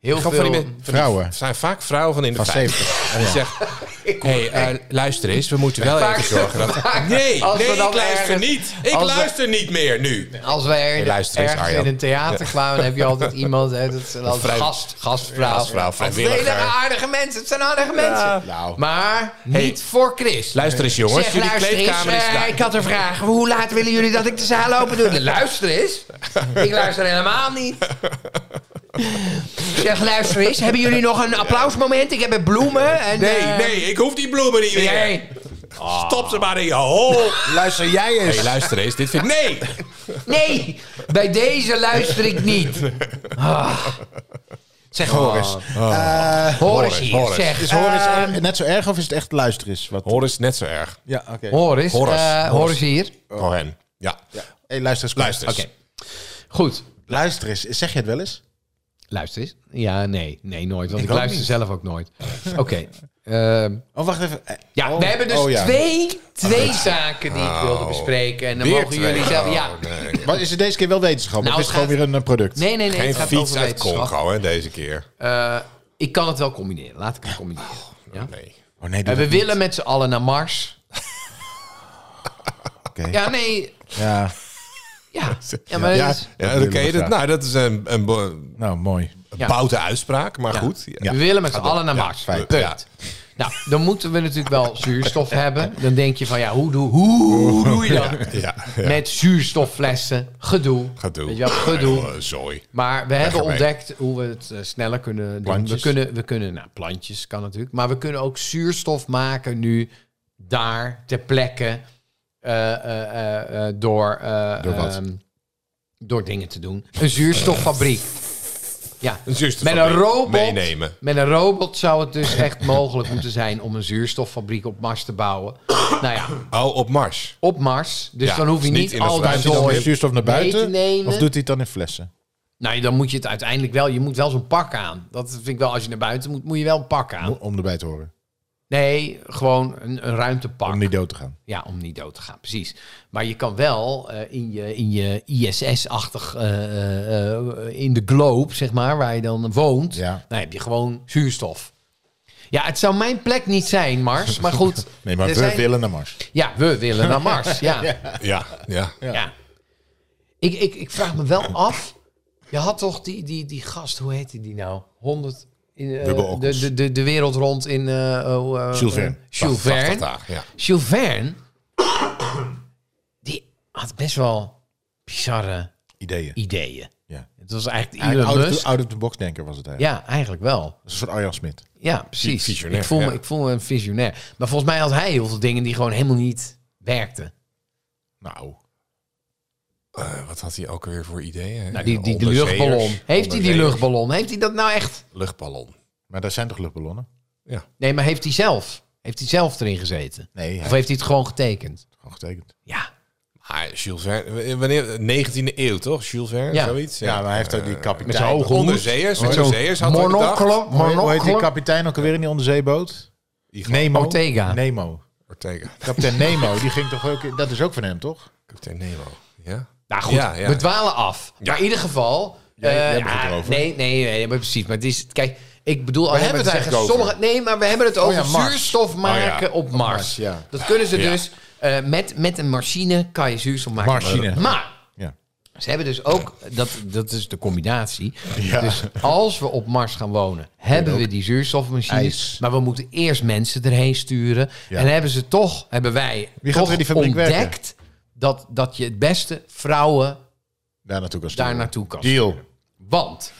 S3: Heel
S2: Ik ga
S3: veel...
S2: van die men- van die-
S1: Vrouwen.
S2: het zijn vaak vrouwen van in de
S1: Van
S2: 50. En die zegt, hey, eh, luister eens, we moeten wel
S3: Vaak-
S2: even zorgen dat... Nee,
S3: Als we
S2: nee, ik
S3: dan
S2: luister
S3: ergens-
S2: niet. Ik
S3: als we-
S2: luister niet meer nu.
S3: Als wij er,
S2: luister eens,
S3: ergens
S2: Arjan.
S3: in een theater kwamen, dan heb je altijd iemand... hè, Dat zijn altijd
S2: vrij-
S3: gast, gastvrouw.
S2: gastvrouw,
S3: Het zijn
S2: vrijwilliger.
S3: hele aardige mensen. Het zijn aardige mensen.
S1: Nou.
S3: Maar niet voor Chris.
S2: Luister eens jongens,
S3: zeg,
S2: jullie
S3: luister eens,
S2: kleedkamer is
S3: eh,
S2: klaar.
S3: ik had een vraag. Hoe laat willen jullie dat ik de zaal open doe? luister eens. Ik luister helemaal niet. Zeg, luister eens. Hebben jullie nog een applausmoment? Ik heb er bloemen. En,
S2: Nee,
S3: eh,
S2: nee, ik hoef die bloemen niet meer.
S3: Jij,
S2: Stop ze maar in je hol.
S1: Luister jij eens.
S2: hey, luister eens, dit vind ik... Nee!
S3: nee, bij deze luister ik niet. Ah. Zeg, Horis. Eh, Horis hier,
S2: Horis.
S3: zeg.
S1: is hoor eens
S3: Eh,
S1: erg- net zo erg of is het echt luister is? Wat...
S2: Hoor is net zo erg.
S1: Ja, oké.
S3: Horis,
S2: Horis.
S3: eh, Horis hier.
S2: Cohen. Ja.
S1: Hey, luister eens. kom.
S2: Luister eens.
S3: Oké. Goed,
S1: Luister eens. Zeg je het wel eens?
S3: Luister eens. Ja, nee. Nee, nooit. Want ik,
S1: ook
S3: luister
S1: niet.
S3: zelf ook nooit. Oké. ehm,
S1: Oh, wacht even. Eh,
S3: ja,
S1: oh,
S3: we hebben dus
S1: oh, ja.
S3: twee, twee zaken die ik wilde
S2: Oh.
S3: bespreken. En dan
S2: Weer
S3: mogen
S2: twee.
S3: jullie zelf... Ja.
S2: Oh, nee.
S1: Maar is het deze keer wel wetenschap?
S3: Nou,
S1: of is het
S3: het
S1: gewoon weer een eh, product?
S3: Nee, nee, nee.
S2: Geen
S3: het gaat
S2: fiets
S3: over
S2: uit
S3: wetenschap.
S2: Congo, hè, deze keer.
S3: Eh, ik kan het wel combineren. Laat ik het combineren. ja?
S2: Nee.
S1: Oh nee, doe
S3: En we
S1: dat niet.
S3: willen met z'n allen naar Mars.
S1: Oké.
S3: Ja, nee.
S1: Ja.
S3: Ja, ja maar... dus,
S1: Ja.
S3: dat is-
S2: Ja, dan ken je dat. Nou, dat is een, een, bo- een
S1: Nou, mooi.
S3: Ja.
S2: boute uitspraak, maar goed.
S1: Ja.
S3: We willen met z'n allen naar
S2: Ja,
S3: Mars.
S1: fijn.
S3: Punt.
S2: Ja.
S3: Nou, dan moeten we natuurlijk wel zuurstof hebben. Dan denk je van, ja, hoe doe, hoe, hoe doe je dat?
S2: Ja, ja.
S3: Met zuurstofflessen. Gedoe.
S2: Gedoe.
S3: Weet je wel, gedoe.
S2: Eh, Zooi.
S3: Maar we hebben
S2: ermee.
S3: ontdekt hoe we het eh, sneller kunnen doen.
S1: Plantjes.
S3: We kunnen, we kunnen, nou, plantjes kan natuurlijk. Maar we kunnen ook zuurstof maken nu daar ter plekke. eh, eh, eh, eh, door, eh,
S1: Door wat?
S3: ehm, door dingen te doen. Een zuurstoffabriek. Ja.
S2: Een zuurstoffabriek
S3: Met een robot.
S2: Meenemen.
S3: Met een robot zou het dus echt mogelijk moeten zijn om een zuurstoffabriek op Mars te bouwen. Nou ja,
S2: Oh, op Mars.
S3: op Mars. Dus
S2: Ja,
S3: dan hoef je
S2: dus niet
S3: niet,
S2: in het
S3: al die
S1: Gaat hij dan weer
S3: zooi.
S1: zuurstof naar
S3: mee te
S1: buiten?
S3: nemen.
S1: Of doet hij het dan in flessen?
S3: Nou, dan moet je het uiteindelijk wel. Je moet wel zo'n pak aan. Dat vind ik wel. Als je naar buiten moet, moet je wel een pak
S1: Om-
S3: aan.
S1: Om erbij te horen.
S3: Nee, gewoon een, een ruimtepak.
S1: Om niet dood te gaan.
S3: Ja, om niet dood te gaan, precies. Maar je kan wel eh, in je, in je ISS-achtig, eh, eh, eh, in de globe, zeg maar, waar je dan woont,
S1: Ja.
S3: dan heb je gewoon zuurstof. Ja, het zou mijn plek niet zijn, Mars. Maar goed.
S1: Nee, maar
S3: er
S1: we
S3: zijn- Ah.
S1: willen naar Mars.
S3: Ja, we willen naar Mars. Ja. ja.
S2: Ja, ja.
S3: Ik, ik, ik vraag me wel af. Je had toch die, die, die gast, hoe heette die nou? 100. In, eh,
S1: Wubbo Ockels.
S3: de, de, de, de wereld rond in. eh, oh, eh,
S1: Jules Verne.
S3: eh, Jules Verne.
S2: 80 dagen, ja.
S3: Jules Verne, die had best wel bizarre
S1: Ideeën.
S3: ideeën.
S1: Ja.
S3: Het was eigenlijk
S1: Eigenlijk
S3: Elon
S1: Out of,
S3: Musk.
S1: the, out of the box denker was het eigenlijk.
S3: Ja, eigenlijk wel.
S1: Dat is een soort Arjan Smit.
S3: Ja, precies.
S2: Visionair,
S3: ik, voel
S2: ja.
S3: me, ik voel me een visionair. Maar volgens mij had hij heel veel dingen die gewoon helemaal niet werkten.
S1: Nou,
S2: Eh, wat had hij ook weer voor ideeën?
S3: Nou, die, die, die
S2: Onderzeeërs.
S3: luchtballon. Heeft hij die
S2: Onderzeeërs.
S3: luchtballon? Heeft hij dat nou echt?
S2: Luchtballon.
S1: maar daar zijn toch luchtballonnen?
S3: Nee, maar heeft hij zelf? Heeft hij zelf erin gezeten?
S1: Nee, hij
S3: Of
S1: heeft
S3: heeft hij het gewoon getekend?
S1: het gewoon getekend.
S3: Ja.
S2: Ah, Jules Verne. Wanneer? 19e eeuw, toch? Jules Verne,
S3: Ja.
S2: zoiets?
S1: Ja, maar hij heeft ook die kapitein.
S3: Eh, met zijn ogen.
S2: Onderzeeërs. Onderzeeërs had hij bedacht.
S3: Monocle,
S1: Hoe heet- Hoe heet die
S3: monocle.
S1: kapitein ook alweer in die onderzeeboot?
S2: Die gast.
S1: Nemo.
S3: Ortega.
S1: Nemo.
S2: Ortega.
S1: Kapitein Nemo, die ging toch ook... in- Dat is ook van hem, toch?
S2: Captain Nemo. Ja?
S3: Nou goed,
S2: Ja, ja.
S3: we dwalen af.
S2: Ja.
S3: Maar in ieder geval...
S1: Jij-
S3: eh,
S1: jij begint
S3: ah,
S1: erover.
S3: nee, nee, nee, maar precies. Maar het is, kijk, ik bedoel... We
S1: hebben het eigenlijk over. Oh
S3: nee, maar we hebben het over
S1: ja, Mars.
S3: zuurstof
S2: Oh
S3: maken
S2: ja,
S3: op Mars.
S1: Mars, ja.
S3: Dat kunnen ze
S2: Ja.
S3: dus... eh, met, met een machine kan je zuurstof maken.
S1: Machine.
S3: Maar
S1: Ja.
S3: ze hebben dus ook... Dat, dat is de combinatie.
S1: Ja.
S3: Dus als we op Mars gaan wonen... hebben we die zuurstofmachines.
S1: Ijs.
S3: Maar we moeten eerst mensen erheen sturen.
S1: Ja.
S3: En hebben ze toch... Hebben wij
S1: Wie gaat
S3: toch
S1: er in die fabriek werken?
S3: ontdekt... Dat, dat je het beste vrouwen
S1: Daar naartoe kan sturen.
S3: daar naartoe kan.
S1: Deal.
S3: Want.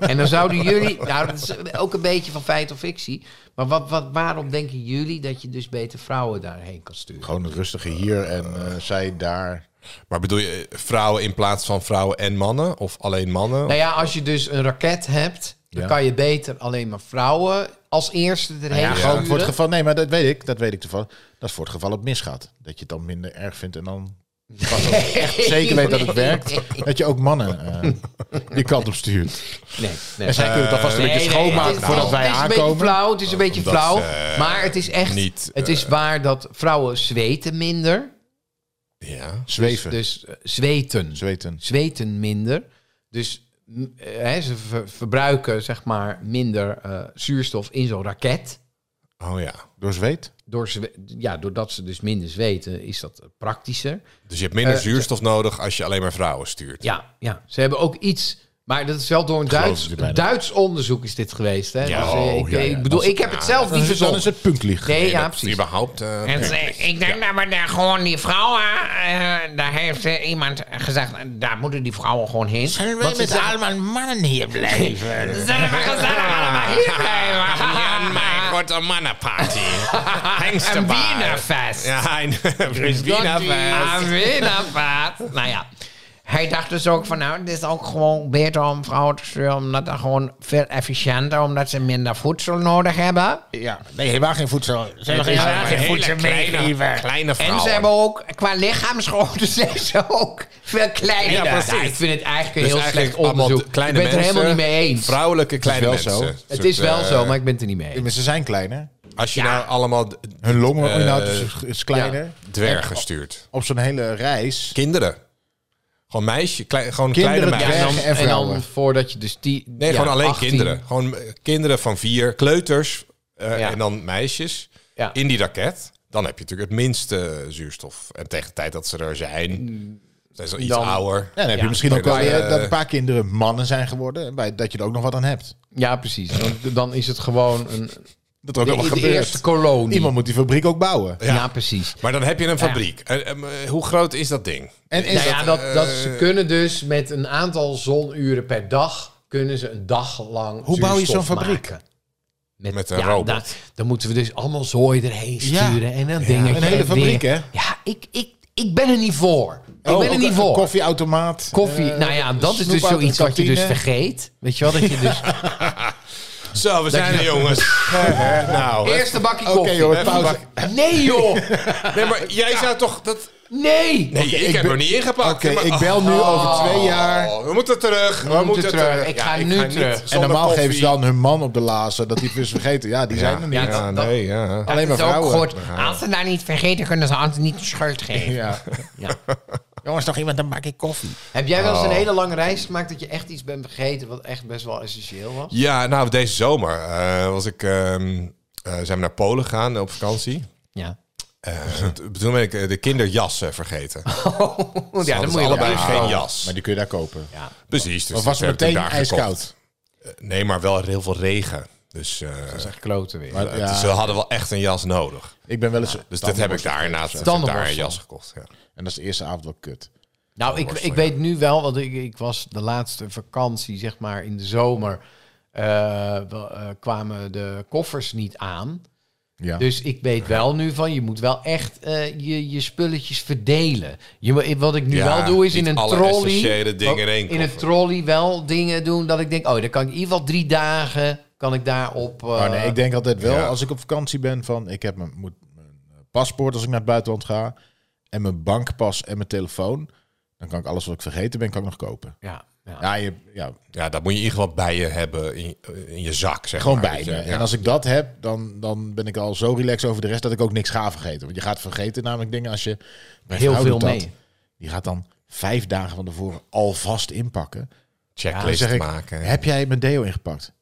S3: en dan zouden jullie. Nou, dat is ook een beetje van feit of fictie. Maar wat, wat, waarom denken jullie dat je dus beter vrouwen daarheen kan sturen?
S1: Gewoon een rustige hier en eh, zij daar.
S2: Maar bedoel je eh, vrouwen in plaats van vrouwen en mannen? Of alleen mannen?
S3: Nou ja, als je dus een raket hebt, dan
S1: Ja.
S3: kan je beter alleen maar vrouwen als eerste erheen
S1: Ja,
S3: sturen.
S1: gewoon voor het geval... Nee, maar dat weet ik. Dat weet ik toevallig. Dat is voor het geval het misgaat. Dat je het dan minder erg vindt en dan... Pas als je echt zeker weet dat het werkt. Dat je ook mannen eh, die kant op stuurt.
S3: Nee, nee.
S1: En zij kunnen het alvast een
S3: Eh, Nee,
S1: beetje
S3: nee,
S1: schoonmaken
S3: het is-
S1: voordat wij
S3: Het is een beetje
S1: aankomen.
S3: flauw, het is een beetje
S2: Omdat
S3: flauw.
S2: ze, eh,
S3: Maar het is echt,
S2: niet,
S3: het
S1: eh,
S3: is waar dat vrouwen zweten minder.
S2: Ja.
S1: Zweven.
S3: Dus eh, zweten.
S1: Zweten.
S3: zweten minder. Dus m, eh, hè, ze ver- verbruiken zeg maar minder eh, zuurstof in zo'n raket.
S2: Oh ja.
S1: Door zweet?
S3: Door ze, ja, doordat ze dus minder zweten, is dat praktischer.
S2: Dus je hebt minder
S3: Eh,
S2: zuurstof nodig als je alleen maar vrouwen stuurt.
S3: Ja, ja, ze hebben ook iets. Maar dat is wel door een
S1: geloof
S3: Duits,
S1: het je bijna.
S3: Duits onderzoek is dit geweest. Hè?
S2: Ja,
S3: Dus, eh,
S1: oh,
S3: ik,
S1: ja, ja.
S3: ik bedoel, ik heb het zelf niet
S1: Dan
S3: verzonnen.
S1: is het punklieg.
S3: Nee,
S2: Nee,
S3: ja,
S2: dat
S3: precies.
S2: Überhaupt. eh,
S5: En ze- ik denk dat we daar gewoon die vrouwen. eh, daar heeft eh, iemand gezegd. Daar moeten die vrouwen gewoon heen.
S4: Zullen wij met allemaal mannen hier blijven?
S5: Zullen we gezellig allemaal hier blijven? Ja,
S2: Mijn wordt een mannenparty.
S5: Een
S2: Hengstenbaar.
S5: wienerfest.
S2: Ja, een een
S5: Aan
S3: Ah,
S2: wienerfest.
S5: Wienervaart. Nou ja. Hij dacht dus ook van, nou, het is ook gewoon beter om vrouwen te sturen, omdat dat gewoon veel efficiënter, omdat ze minder voedsel nodig hebben.
S4: Ja, nee, helemaal geen voedsel. Ze hebben
S5: is
S4: helemaal
S5: een
S4: geen
S5: hele
S4: voedsel meegeven.
S2: kleine vrouwen.
S5: En ze hebben ook, qua lichaamsgrootte zijn ze ook veel kleiner.
S2: Ja, precies.
S5: Nou,
S3: ik vind het eigenlijk een
S2: Dus
S3: heel
S2: eigenlijk
S3: slecht
S2: allemaal
S3: onderzoek. Ik ben
S2: kleine
S3: het er
S2: mensen,
S3: helemaal niet mee eens.
S2: Vrouwelijke kleine
S1: wel
S2: mensen.
S1: zo.
S2: Een
S3: Het
S2: soort,
S3: is wel
S2: eh,
S3: zo, maar ik ben het er niet mee eens.
S1: Ja, maar ze zijn kleiner.
S2: Als je nou allemaal d-
S1: Hun longen
S2: Eh,
S1: inhoud is, is kleiner.
S2: dwergen stuurt.
S1: Op zo'n hele reis.
S2: Kinderen. Gewoon meisje, klei- gewoon
S1: Kinderen,
S2: kleine meisjes.
S1: dwergen
S3: En dan,
S1: en
S3: en
S1: vrouwen.
S3: dan voordat je dus die...
S2: Nee,
S3: ja,
S2: gewoon alleen
S3: 18.
S2: kinderen. Gewoon eh, kinderen van vier, kleuters eh,
S3: Ja.
S2: en dan meisjes
S3: Ja.
S2: in die raket. Dan heb je natuurlijk het minste zuurstof. En tegen de tijd dat ze er zijn, zijn ze al iets
S3: Dan-
S2: ouder.
S1: Ja, dan heb je
S3: Ja.
S1: misschien ook wel
S2: Nee, dat,
S1: eh,
S2: eh,
S1: dat een paar kinderen mannen zijn geworden. en bij- Dat je er ook nog wat aan hebt.
S3: Ja, precies. Want dan is het gewoon een,
S1: Dat er ook
S3: de,
S1: wel wat
S3: de
S1: gebeurt.
S3: eerste kolonie.
S1: Iemand moet die fabriek ook bouwen.
S2: Eh,
S3: ja. precies.
S2: Maar dan heb je een fabriek. En, em, eh, hoe groot is dat ding?
S1: En is
S3: nou
S1: dat-
S3: ja, dat, dat, ze kunnen dus met een aantal zonuren per dag... kunnen ze een dag lang
S1: Hoe bouw je zo'n
S3: zuurstof
S1: fabriek?
S3: maken.
S2: Met een robot.
S3: daar- dan moeten we dus allemaal zooi
S1: Ja.
S3: erheen sturen en dan dingen.
S1: een hele fabriek, hè? Oh,
S3: Ja, ik, ik, ik ben er niet voor. Ik ben er
S1: ook
S3: niet
S1: een
S3: voor. Koffie,
S1: Koffieautomaat. eh,
S3: nou ja, dat is dus
S1: snoepauto,
S3: zoiets wat je dus
S1: kantine.
S3: vergeet. Weet je wel, dat je dus...
S2: Zo, we zijn
S3: je-
S2: er, jongens. Eh, nou, hè.
S3: Eerste bakje
S1: Oké,
S3: koffie.
S1: joh,
S2: Even
S1: pauze.
S2: wachten.
S3: Nee, joh.
S2: nee, maar jij zou toch dat.
S3: Nee.
S2: Nee, ik, heb
S1: ben-
S2: er niet ingepakt.
S1: Oké,
S2: maar-
S1: ik bel nu over twee jaar.
S2: Oh, we moeten terug. We,
S3: moeten
S2: moeten terug.
S3: terug. Ik ga nu
S2: niet
S3: terug. En
S1: En
S2: zonder
S1: normaal
S2: koffie.
S1: geven ze dan hun man op de lazen. Dat die het is vergeten. Ja, die zijn er niet.
S3: Ja,
S2: Ja,
S3: dat- dat-
S2: nee, ja.
S1: Alleen maar
S5: Dat is ook
S1: vrouwen.
S5: goed. Als ze daar niet vergeten, kunnen ze Ant niet de schuld geven.
S1: Ja.
S4: Jongens, nog iemand een bakje koffie?
S3: Heb jij wel eens een hele lange reis gemaakt dat je echt iets bent vergeten wat echt best wel essentieel was?
S2: Ja, nou, deze zomer eh, was ik, ehm, eh, zijn we naar Polen gegaan op vakantie.
S3: Ja.
S2: Eh, t- toen ben ik eh, de kinderjas eh, vergeten.
S1: Oh,
S3: ja, dan moet je
S2: allebei
S3: wel-
S2: geen jas.
S1: Maar die kun je daar kopen.
S2: Precies. Dus
S1: Maar was
S2: dat
S1: het
S2: heb ik
S1: meteen
S2: toen daar gekocht. Eh,
S1: ijskoud?
S2: Nee, maar wel heel veel regen. Dus eh,
S3: Zeg kloten weer.
S1: Maar,
S2: het-
S1: ja,
S2: ze hadden wel echt een jas nodig.
S1: ik ben wel eens...
S2: Dus dat heb ik daar inderdaad. heb ik daar een
S3: Tandenborstel.
S2: jas gekocht. Ja.
S1: En dat is de eerste avond wel kut.
S3: Nou, ik,
S2: Worstel,
S3: ik weet nu wel, want ik, ik was de laatste vakantie, zeg maar, in de zomer. eh, wel, eh, kwamen de koffers niet aan.
S1: Ja.
S3: Dus ik weet wel nu van, je moet wel echt eh, je, je spulletjes verdelen. Je, mo- wat ik nu
S2: Ja,
S3: wel doe, is in
S2: niet
S3: een
S2: alle
S3: trolley...
S2: essentiële dingen
S3: ook
S2: in één
S3: in een
S2: koffer.
S3: trolley wel dingen doen dat ik denk, oh, dan kan ik in ieder geval drie dagen... kan ik daarop... eh
S1: Oh, nee, ik denk altijd wel,
S2: ja.
S1: als ik op vakantie ben, van ik heb mijn, moet, mijn eh, paspoort als ik naar het buitenland ga. En mijn bankpas en mijn telefoon. Dan kan ik alles wat ik vergeten ben, kan ik nog kopen.
S3: ja, ja.
S1: Ja, je, ja
S2: ja, dat moet je in ieder geval bij je hebben. In, eh, in je zak, zeg
S1: gewoon
S2: maar.
S1: bij me.
S2: Ja,
S1: En als ik dat heb, dan, dan ben ik al zo relaxed over de rest dat ik ook niks ga vergeten. Want je gaat vergeten namelijk dingen als je... mijn
S3: Heel
S1: vrouw
S3: veel
S1: doet dat.
S3: mee.
S1: Die gaat dan vijf dagen van tevoren alvast inpakken. Dan
S2: Checklist
S1: zeg ik,
S2: maken.
S1: heb jij mijn deo ingepakt?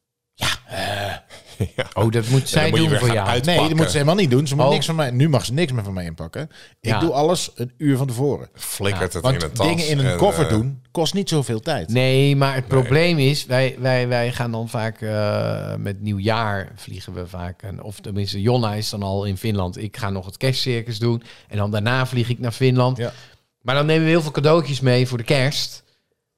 S3: Oh, dat moet zij
S2: moet je
S3: doen
S2: weer
S3: voor
S2: gaan
S3: jou.
S2: uit-
S1: Nee, dat
S2: Pakken.
S1: moet ze helemaal niet doen. Ze moet
S3: Oh.
S1: niks van mij, nu mag ze niks meer van mij inpakken. Ik
S3: Ja.
S1: doe alles een uur van tevoren.
S2: Flikkert het in een
S1: Want
S2: tas.
S1: dingen in een
S2: en,
S1: koffer
S2: eh,
S1: doen kost niet zoveel tijd.
S3: Nee, maar het probleem is, wij, wij, wij gaan dan vaak eh, met nieuwjaar vliegen we vaak. En, of tenminste, Jonna is dan al in Finland. Ik ga nog het kerstcircus doen. En dan daarna vlieg ik naar Finland.
S1: Ja.
S3: Maar dan nemen we heel veel cadeautjes mee voor de kerst.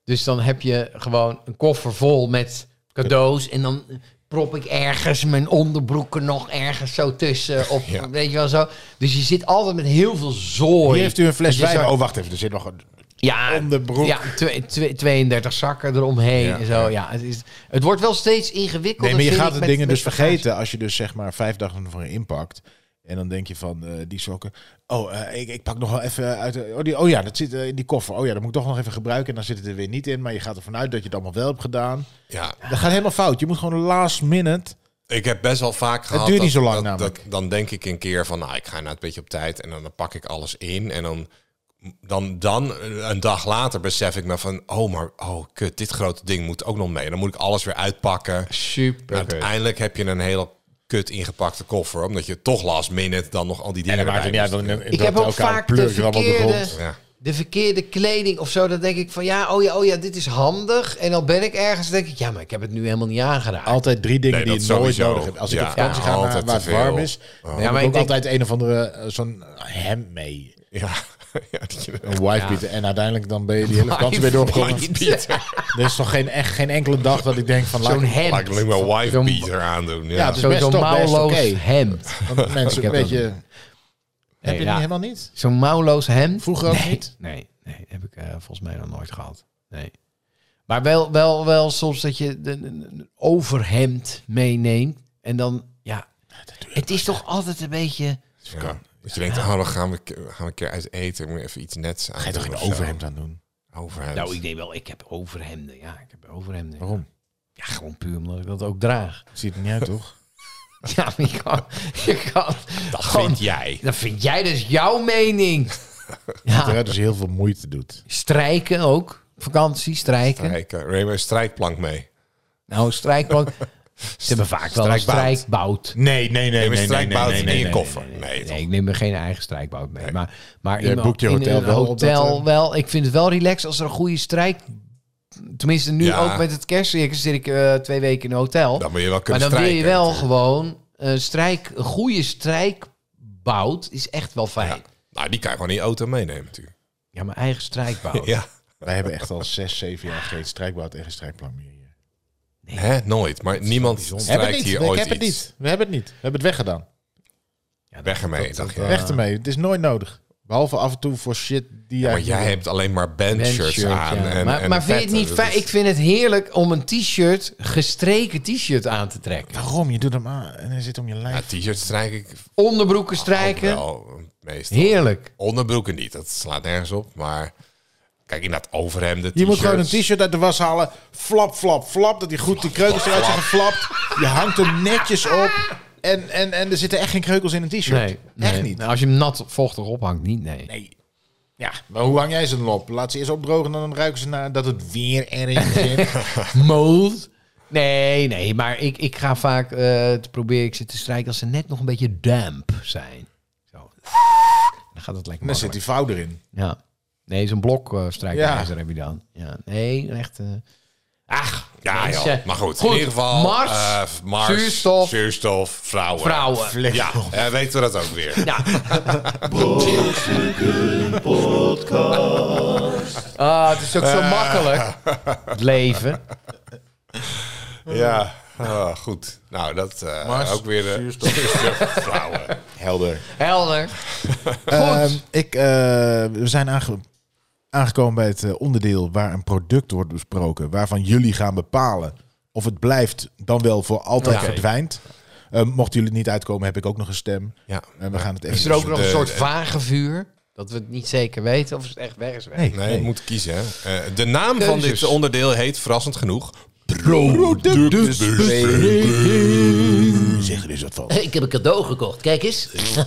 S3: Dus dan heb je gewoon een koffer vol met cadeaus. En dan prop ik ergens mijn onderbroeken nog ergens zo tussen. Of
S2: Ja.
S3: weet je wel zo. Dus je zit altijd met heel veel zooi.
S1: Hier heeft u een fles
S3: Dat je
S1: wijn.
S3: zo-
S1: Oh, wacht even. Er zit nog een...
S3: ja,
S1: Onderbroek.
S3: Ja, twe- twe- 32 zakken eromheen
S2: Ja,
S3: en zo. Ja, het, is, het wordt wel steeds ingewikkelder.
S1: Nee, maar je
S3: vind
S1: gaat
S3: ik,
S1: de
S3: met-
S1: dingen
S3: met
S1: dus
S3: bagage.
S1: vergeten als je dus zeg maar vijf dagen van tevoren inpakt. En dan denk je van eh, die sokken. Oh, eh, ik, ik pak nog wel even uit. de- oh, die, oh ja, dat zit eh, in die koffer. Oh ja, dat moet ik toch nog even gebruiken. En dan zit het er weer niet in. Maar je gaat ervan uit dat je het allemaal wel hebt gedaan.
S2: Ja,
S1: Dat gaat helemaal fout. Je moet gewoon last minute.
S2: Ik heb best wel vaak gehad.
S1: duurt
S2: dat-
S1: niet zo lang
S2: dat-
S1: namelijk.
S2: dat- dan denk ik een keer van, nou, ik ga nou een beetje op tijd en dan, dan pak ik alles in en dan dan, dan een dag later besef ik me van... Oh, maar oh, kut, dit grote ding moet ook nog mee. Dan moet ik alles weer uitpakken.
S1: Nou,
S3: Super.
S2: Uiteindelijk heb je een hele kut ingepakte koffer. Omdat je toch last minute dan nog al die
S1: En
S2: dingen
S1: dan maakt het
S2: erbij
S1: niet uit.
S2: moest
S1: Dan,
S2: doen.
S1: dat
S3: heb ook
S1: elkaar
S3: vaak
S1: pleuren
S3: de
S1: allemaal op de
S3: verkeerde-
S1: grond.
S2: Ja.
S3: De verkeerde kleding of zo, dan denk ik van ja, oh ja, oh ja, dit is handig. En dan ben ik ergens, denk ik, ja, maar ik heb het nu helemaal niet aangeraakt.
S1: Altijd drie dingen
S2: Nee,
S1: die
S2: dat
S1: je nooit
S2: sowieso.
S1: nodig hebt. Als ik
S2: Ja,
S1: op vakantie
S2: ja,
S1: ga naar,
S2: altijd
S1: waar het
S2: te veel.
S1: warm is, dan heb
S3: Ja,
S1: ik
S3: maar ik
S1: ook
S3: denk-
S1: altijd een of andere eh, zo'n hemd mee.
S2: Ja. Ja, dat je-
S1: Een wifebeater. En uiteindelijk dan ben je die hele vakantie weer doorgekomen. Er is toch geen, echt, geen enkele dag dat ik denk van... laat
S3: Zo'n
S1: ik-
S2: Laat ik
S3: hemd.
S2: alleen maar wife
S3: Zo'n-
S2: beater aandoen. Ja.
S1: Ja, het is
S3: Zo'n
S1: best
S3: zo'n
S1: toch best
S3: mouwloos
S1: oké.
S3: hemd.
S1: Want mensen
S3: Ik
S1: een
S3: heb
S1: beetje...
S3: een-
S1: Heb je
S3: Nee,
S1: die
S3: ja.
S1: helemaal niet?
S3: Zo'n mouwloos hemd.
S1: Vroeger ook
S3: nee,
S1: niet?
S3: Nee, nee, heb ik eh, volgens mij nog nooit gehad. Nee. Maar wel, wel, wel soms dat je de- de- een overhemd meeneemt. En dan, ja. Het is toch altijd een beetje...
S2: Ja. Dat je denkt, oh, dan gaan we, gaan we een keer uit eten. Moet je even iets nets aan
S1: Ga je toch geen overhemd aan doen?
S2: Overhemd.
S3: Nou, ik denk wel, ik heb overhemden. Ja, ik heb overhemden.
S1: Waarom?
S3: Ja, gewoon puur omdat ik dat ook draag.
S1: Ziet er niet uit, toch?
S3: Ja, maar je kan... Je kan
S2: dat
S3: gewoon-
S2: vind jij.
S3: Dat vind jij dus jouw mening. Ja,
S1: Terwijl dus heel veel moeite doet.
S3: strijken ook. Vakantie, strijken.
S5: Hm?
S2: Kijk, eh, neem een strijkplank mee.
S3: Nou, strijkplank. Ze hebben vaak wel een
S2: Strijkbout.
S3: strijkbout.
S1: Nee, nee, nee.
S2: Neem een
S1: nee, nee, nee,
S2: strijkbout
S1: nee,
S2: in
S1: nee,
S2: je
S1: nee.
S2: koffer. Nee,
S3: Nee,
S2: toch?
S3: ik neem me geen eigen strijkbout mee. Maar, maar
S1: Jij
S3: in,
S1: boekt je
S3: in
S1: hotel
S3: een
S1: wel op dat,
S3: hotel
S1: eh?
S3: wel. Ik vind het wel relaxed als er een goede strijk... Tenminste, nu
S2: Ja.
S3: ook met het kerstcircus zit ik eh, twee weken in een hotel.
S2: Dan moet je wel
S3: maar
S2: kunnen
S3: dan wil je
S2: strijken,
S3: wel
S2: natuurlijk.
S3: gewoon... Een, strijk, een goede strijkbout is echt wel fijn. Ja,
S2: Ja. Nou, die kan je gewoon in je auto meenemen natuurlijk.
S3: mijn eigen strijkbout.
S2: Ja.
S1: Wij hebben echt al zes, zeven jaar geen strijkbout en geen strijkplank meer hier.
S2: Hè? Nooit. Maar niemand
S1: Hebben
S2: strijkt
S1: het niet.
S2: hier
S1: Ik
S2: ooit
S1: heb het
S2: iets.
S1: niet. We hebben het niet. We hebben het weggedaan.
S2: Weg ermee, dacht je.
S1: Weg ermee. Het is nooit nodig. Behalve af en toe voor shit die jij...
S2: Maar jij hebt alleen maar bandshirts
S3: Een shirt,
S2: aan.
S3: ja.
S2: En,
S3: maar
S2: en
S3: maar vind je het
S2: vetten,
S3: niet
S2: dus
S3: fijn? Ik vind het heerlijk om een t-shirt, gestreken t-shirt aan te trekken.
S1: Waarom? Je doet hem aan en hij zit om je lijf.
S2: Ja, t-shirts strijk ik ook
S3: Onderbroeken strijken.
S2: Oh, wel meestal.
S3: Heerlijk.
S2: Onderbroeken niet, dat slaat nergens op. Maar kijk, inderdaad overhemden,
S1: Je moet gewoon een
S2: t-shirts.
S1: t-shirt uit de was halen. Flap, flap, flap. Dat die goed die kreukels eruit zijn geflapt. Je hangt hem netjes op. En, en, en er zitten echt geen kreukels in een t-shirt.
S3: Nee,
S1: echt
S3: nee.
S1: niet.
S3: Nou, als je hem nat vochtig ophangt, niet, nee.
S1: Nee. Ja, maar hoe hang jij ze dan op? Laat ze eerst opdrogen en dan ruiken ze naar dat het weer erin zit.
S3: Mold. Nee, nee, maar ik, ik ga vaak eh, te proberen, ik zit te strijken als ze net nog een beetje damp zijn. Zo. Dan gaat het lekker
S1: en dan zit
S3: makkelijk.
S1: die vouw erin.
S3: Ja. Nee, zo'n blok eh strijkijzer
S1: Ja.
S3: heb je dan. Ja. Nee, echt... eh, Ach,
S2: Ja,
S3: mensen.
S2: joh. maar goed, in ieder geval...
S3: Mars,
S2: eh, Mars
S3: zuurstof,
S2: zuurstof, vrouwen.
S3: vrouwen.
S2: Ja, eh, weten we dat ook weer.
S3: Ja. Ah, het is ook zo makkelijk. Het leven.
S2: Ja, ah, goed. Nou, dat eh,
S1: Mars,
S2: ook weer... de
S1: zuurstof.
S2: vrouwen.
S1: Helder.
S3: Helder.
S1: Ehm, ik, eh, we zijn aange- aangekomen bij het eh, onderdeel waar een product wordt besproken. Waarvan jullie gaan bepalen of het blijft dan wel voor altijd
S2: Oké.
S1: verdwijnt. Eh, mochten jullie het niet uitkomen, heb ik ook nog een stem.
S2: Ja.
S1: En we gaan het
S3: Is
S1: even...
S3: er ook nog een
S2: de-
S3: soort vage vuur? Dat we het niet zeker weten of het echt weg is weg.
S1: Nee,
S2: Nee,
S1: nee.
S2: je moet kiezen. Hè. Eh, de naam van
S3: Keuzes.
S2: dit onderdeel heet, verrassend genoeg...
S1: Zeg er eens wat van.
S5: Ik heb een cadeau gekocht, kijk eens. Hé,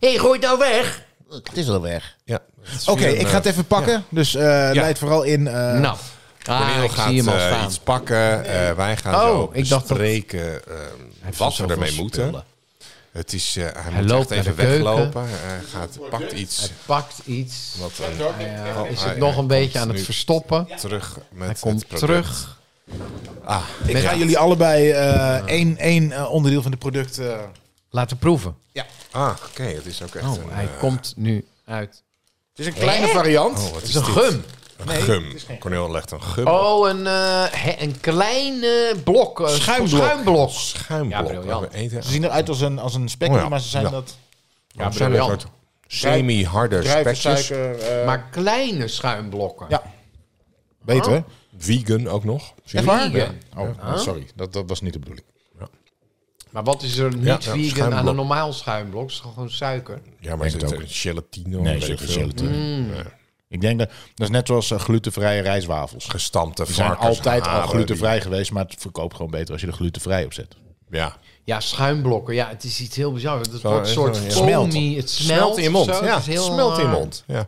S5: hey, gooi het nou weg.
S1: Het is al weg.
S2: Ja, dat is
S1: Oké,
S2: weer een,
S1: ik
S2: eh,
S1: ga het even pakken. Dus eh leid vooral in... eh,
S3: Nou, ah,
S2: Cornel
S3: ik
S2: gaat
S3: zie hem al
S2: eh,
S3: staan.
S2: iets pakken. Eh, wij gaan
S3: Oh,
S2: zo
S3: ik dacht dat-
S2: bespreken eh, wat we
S3: zoveel
S2: ermee moeten.
S3: spullen.
S2: Het is, eh, hij,
S3: Hij
S2: moet
S3: loopt
S2: echt even
S3: naar de keuken.
S2: weglopen. Eh, Hij gaat, pakt iets.
S3: Pakt iets.
S2: Wat een-
S3: Eh,
S2: Oh,
S3: is
S2: hij-
S3: het nog
S2: hij
S3: een beetje
S2: komt
S3: aan het
S2: nu
S3: verstoppen?
S2: Terug met
S3: Hij komt
S2: het product.
S3: terug.
S2: Ah,
S1: ik ga jullie allebei eh, één, één eh, onderdeel van het product... eh,
S3: Laten proeven.
S2: ah oké. het is ook echt
S3: Oh,
S2: een,
S3: hij
S2: eh,
S3: komt nu uit.
S1: het is een kleine variant.
S2: oh, wat
S3: Het
S2: is
S3: is een
S2: dit?
S3: gum.
S2: Een gum. Cornel legt een gum op.
S3: Oh, een, eh, hè, een klein eh, blok. eh,
S1: Schuimblok.
S3: schuimblok.
S2: Schuimblok.
S3: Ja, briljant.
S2: We eten-
S1: Ze zien eruit als een, als een spekkie,
S2: Oh ja,
S1: maar ze zijn
S2: ja.
S1: dat...
S2: Ja,
S3: briljant.
S2: zijn een soort semi-harde spekjes.
S1: Druivensuiker. eh,
S3: Maar kleine schuimblokken.
S1: Ja. Beter, hè?
S2: Vegan ook nog.
S1: Echt waar?
S3: Vegan.
S1: Oh, sorry. Dat, dat was niet de bedoeling.
S3: Maar wat is er niet
S2: ja,
S3: vegan
S2: schuimblok.
S3: aan een normaal schuimblok? Het is gewoon suiker.
S2: Ja, maar
S1: Denk
S2: zit
S1: het
S2: er
S1: ook.
S2: gelatine of
S1: Nee,
S2: weet
S1: er
S2: ik
S1: zit geen
S2: veel?
S1: gelatine.
S2: Nee.
S1: Ik denk dat... Dat is net zoals eh, glutenvrije rijstwafels.
S2: Gestampte
S1: Die zijn altijd al
S2: varkensharen, die-
S1: glutenvrij geweest, maar het verkoopt gewoon beter als je er glutenvrij op zet.
S2: Ja.
S3: Ja, schuimblokken. Ja, het is iets heel bizar. Het
S2: Zo,
S3: wordt een soort
S2: zo, ja.
S1: Smelt.
S3: foamy. Het smelt,
S2: Smelt in je mond.
S3: of zo.
S2: ja,
S3: Het is heel eh,
S2: smelt in je
S3: raar.
S2: mond. Ja.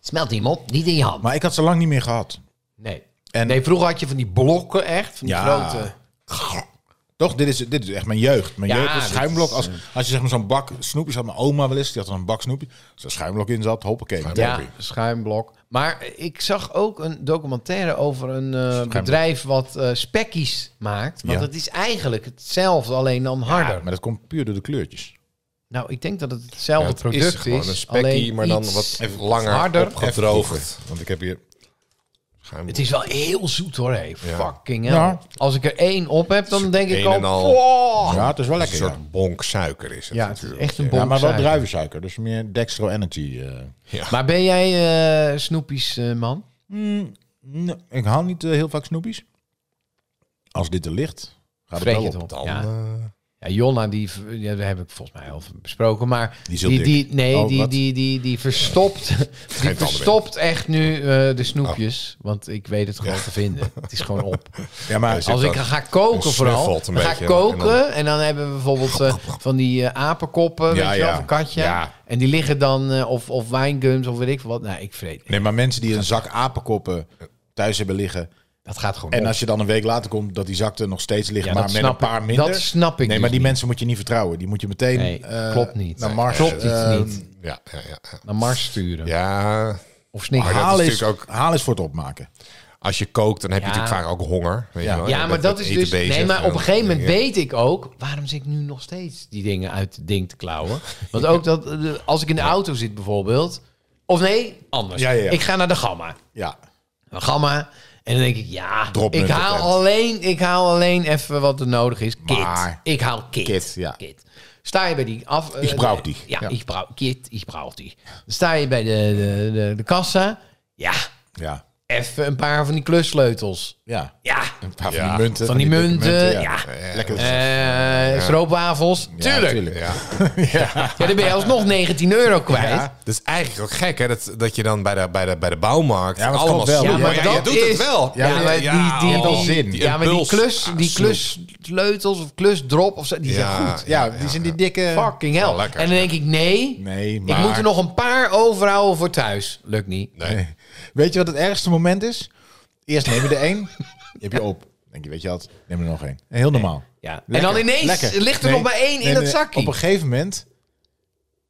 S5: Smelt die mop, niet in je hand.
S1: Maar ik had ze lang niet meer gehad.
S3: Nee.
S1: En-
S3: nee, vroeger had je van die blokken echt. Van die
S1: Ja.
S3: grote.
S1: Toch, dit is, dit is echt mijn jeugd. Mijn
S3: Ja,
S1: jeugd was
S3: dit
S1: schuimblok.
S3: is,
S1: Als, als je zeg maar zo'n bak snoepjes had, mijn oma wel eens, die had dan een bak snoepjes. Als er schuimblok in zat, hoppakee.
S3: Ja,
S1: Hoppie.
S3: schuimblok. Maar ik zag ook een documentaire over een eh, bedrijf wat eh, spekkies maakt. Want
S1: Ja.
S3: het is eigenlijk hetzelfde, alleen dan harder.
S1: Maar dat komt puur door de kleurtjes.
S3: Nou, ik denk dat het hetzelfde
S2: Ja, het is
S3: product is.
S2: gewoon een spekkie,
S3: alleen
S2: maar dan
S3: iets
S2: wat even langer
S3: harder.
S2: opge- Gedroogd.
S1: Even, Want ik heb hier...
S3: Het is wel heel zoet hoor, hey.
S2: Ja.
S3: Fucking hell.
S1: Ja.
S3: Als ik er één op heb, dan denk ik
S2: Een
S3: al...
S2: en al.
S3: "Wow."
S1: Ja, het is wel
S2: een
S1: lekker. ja.
S2: soort bonk suiker is het
S3: Oh, Ja, het is
S2: natuurlijk.
S3: echt een
S1: Ja,
S3: bonk
S1: maar wel
S3: suiker.
S1: druivensuiker. Dus meer Dextro Energy. eh.
S2: Ja.
S3: Maar ben jij eh, snoepies, eh, man?
S1: Mm, nee, ik haal niet eh, heel vaak snoepjes. Als dit er ligt, gaat het
S3: Vreet
S1: wel
S3: je het
S1: op.
S3: op.
S2: Dan,
S3: Ja.
S2: eh,
S3: Ja, Jonna, die, v- ja, daar heb ik volgens mij al van besproken. Maar
S1: Die is heel
S3: die,
S1: dik.
S3: die, nee,
S1: Oh,
S3: die,
S1: wat?
S3: die, die, die verstopt, die
S2: andere
S3: verstopt echt nu eh, de snoepjes.
S1: Oh.
S3: Want ik weet het gewoon te vinden. Het is gewoon op.
S1: Ja, maar
S2: zit
S3: Als ik
S2: dat-
S3: ga koken
S2: een
S3: vooral,
S2: snuffelt een
S3: dan ga
S2: beetje,
S3: ik
S2: en dan-
S3: koken en dan hebben we bijvoorbeeld eh, van die eh, apenkoppen,
S2: Ja,
S3: weet je wel,
S2: ja.
S3: of een katje.
S2: Ja.
S3: En die liggen dan, eh, of, of wijngums of weet ik veel wat. Nou, ik vreet.
S1: Nee, maar mensen die een zak apenkoppen thuis hebben liggen.
S3: Dat gaat gewoon
S1: En
S3: op.
S1: als je dan een week later komt dat die zak er nog steeds ligt,
S3: Ja,
S1: maar
S3: dat
S1: met
S3: snap
S1: een paar
S3: ik.
S1: minder.
S3: Dat snap ik
S1: Nee,
S3: dus
S1: maar die
S3: niet.
S1: mensen moet je niet vertrouwen. Die moet je meteen
S3: Nee,
S1: eh,
S3: klopt niet.
S1: naar Mars.
S3: Klopt iets
S1: eh,
S3: niet.
S2: ja, ja, ja, ja.
S3: Naar Mars sturen.
S2: Ja,
S3: Of snikken.
S2: Maar dat
S1: Haal
S2: is
S1: is,
S2: natuurlijk
S1: haal is voor het opmaken.
S2: als je kookt, dan heb je
S3: Ja.
S2: natuurlijk vaak ook honger. Weet
S1: Ja.
S2: je wel.
S3: Ja,
S2: Je
S3: maar
S2: bent
S3: dat
S2: met
S3: is
S2: eten
S3: dus. nee,
S2: bezig
S3: maar op
S2: en-
S3: een gegeven moment
S2: ja.
S3: weet ik ook. Waarom zit ik nu nog steeds die dingen uit het ding te klauwen? Want ook dat. eh, Als ik in de auto zit bijvoorbeeld. Of nee, anders.
S1: Ja, ja, ja.
S3: Ik ga naar de Gamma.
S1: Ja.
S3: Naar Gamma. En dan denk ik, ja.
S1: Dropnut
S3: ik, haal
S1: attent.
S3: alleen, ik haal alleen even wat er nodig is. Kit.
S1: Maar-
S3: ik haal kit.
S1: Kit, ja.
S5: Kit.
S3: Sta je bij die af. eh,
S1: Ik brauch die.
S3: Ja,
S1: Ja.
S3: ik brauch kit. Ik brauch die. Dan sta je bij de, de, de, de kassa. Ja.
S1: Ja.
S3: Even een paar van die klussleutels.
S1: Ja.
S3: Ja.
S1: Een paar
S2: Ja.
S1: van die munten.
S3: Van die
S1: dikke
S3: munten, ja.
S1: Lekker.
S3: Eh stroopwafels. Tuurlijk.
S2: Ja.
S3: Ja, dan ben je alsnog 19 euro kwijt.
S1: Ja.
S2: Dat is eigenlijk ook gek, hè? Dat, dat je dan bij de, bij de, bij de bouwmarkt
S1: Ja, maar het
S2: allemaal
S1: klopt wel.
S2: snoep-
S1: Ja, maar
S2: je
S3: dat
S2: doet
S3: is-
S2: het wel.
S3: Ja, maar die, die,
S1: oh,
S3: die,
S1: wel zin.
S3: die-
S1: Die
S3: ja, maar die,
S2: impuls.
S3: klus,
S2: Ah,
S3: die
S2: snoep.
S3: klussleutels of klusdrop of zo, die zijn goed.
S1: Ja, die zijn die dikke...
S3: Fucking hell.
S2: Wel lekker.
S3: en dan denk ik, nee,
S1: Nee, maar...
S3: ik moet er nog een paar overhouden voor thuis. Lukt niet.
S1: Nee. Weet je wat het ergste moment is? Eerst neem je er één, die heb je op. Dan Denk je, weet je wat, neem er nog één. Heel normaal.
S3: Ja.
S1: Lekker,
S3: En dan ineens
S1: lekker.
S3: ligt er
S1: Nee,
S3: nog maar één
S1: nee,
S3: in
S1: nee,
S3: dat zakje.
S1: Op een gegeven moment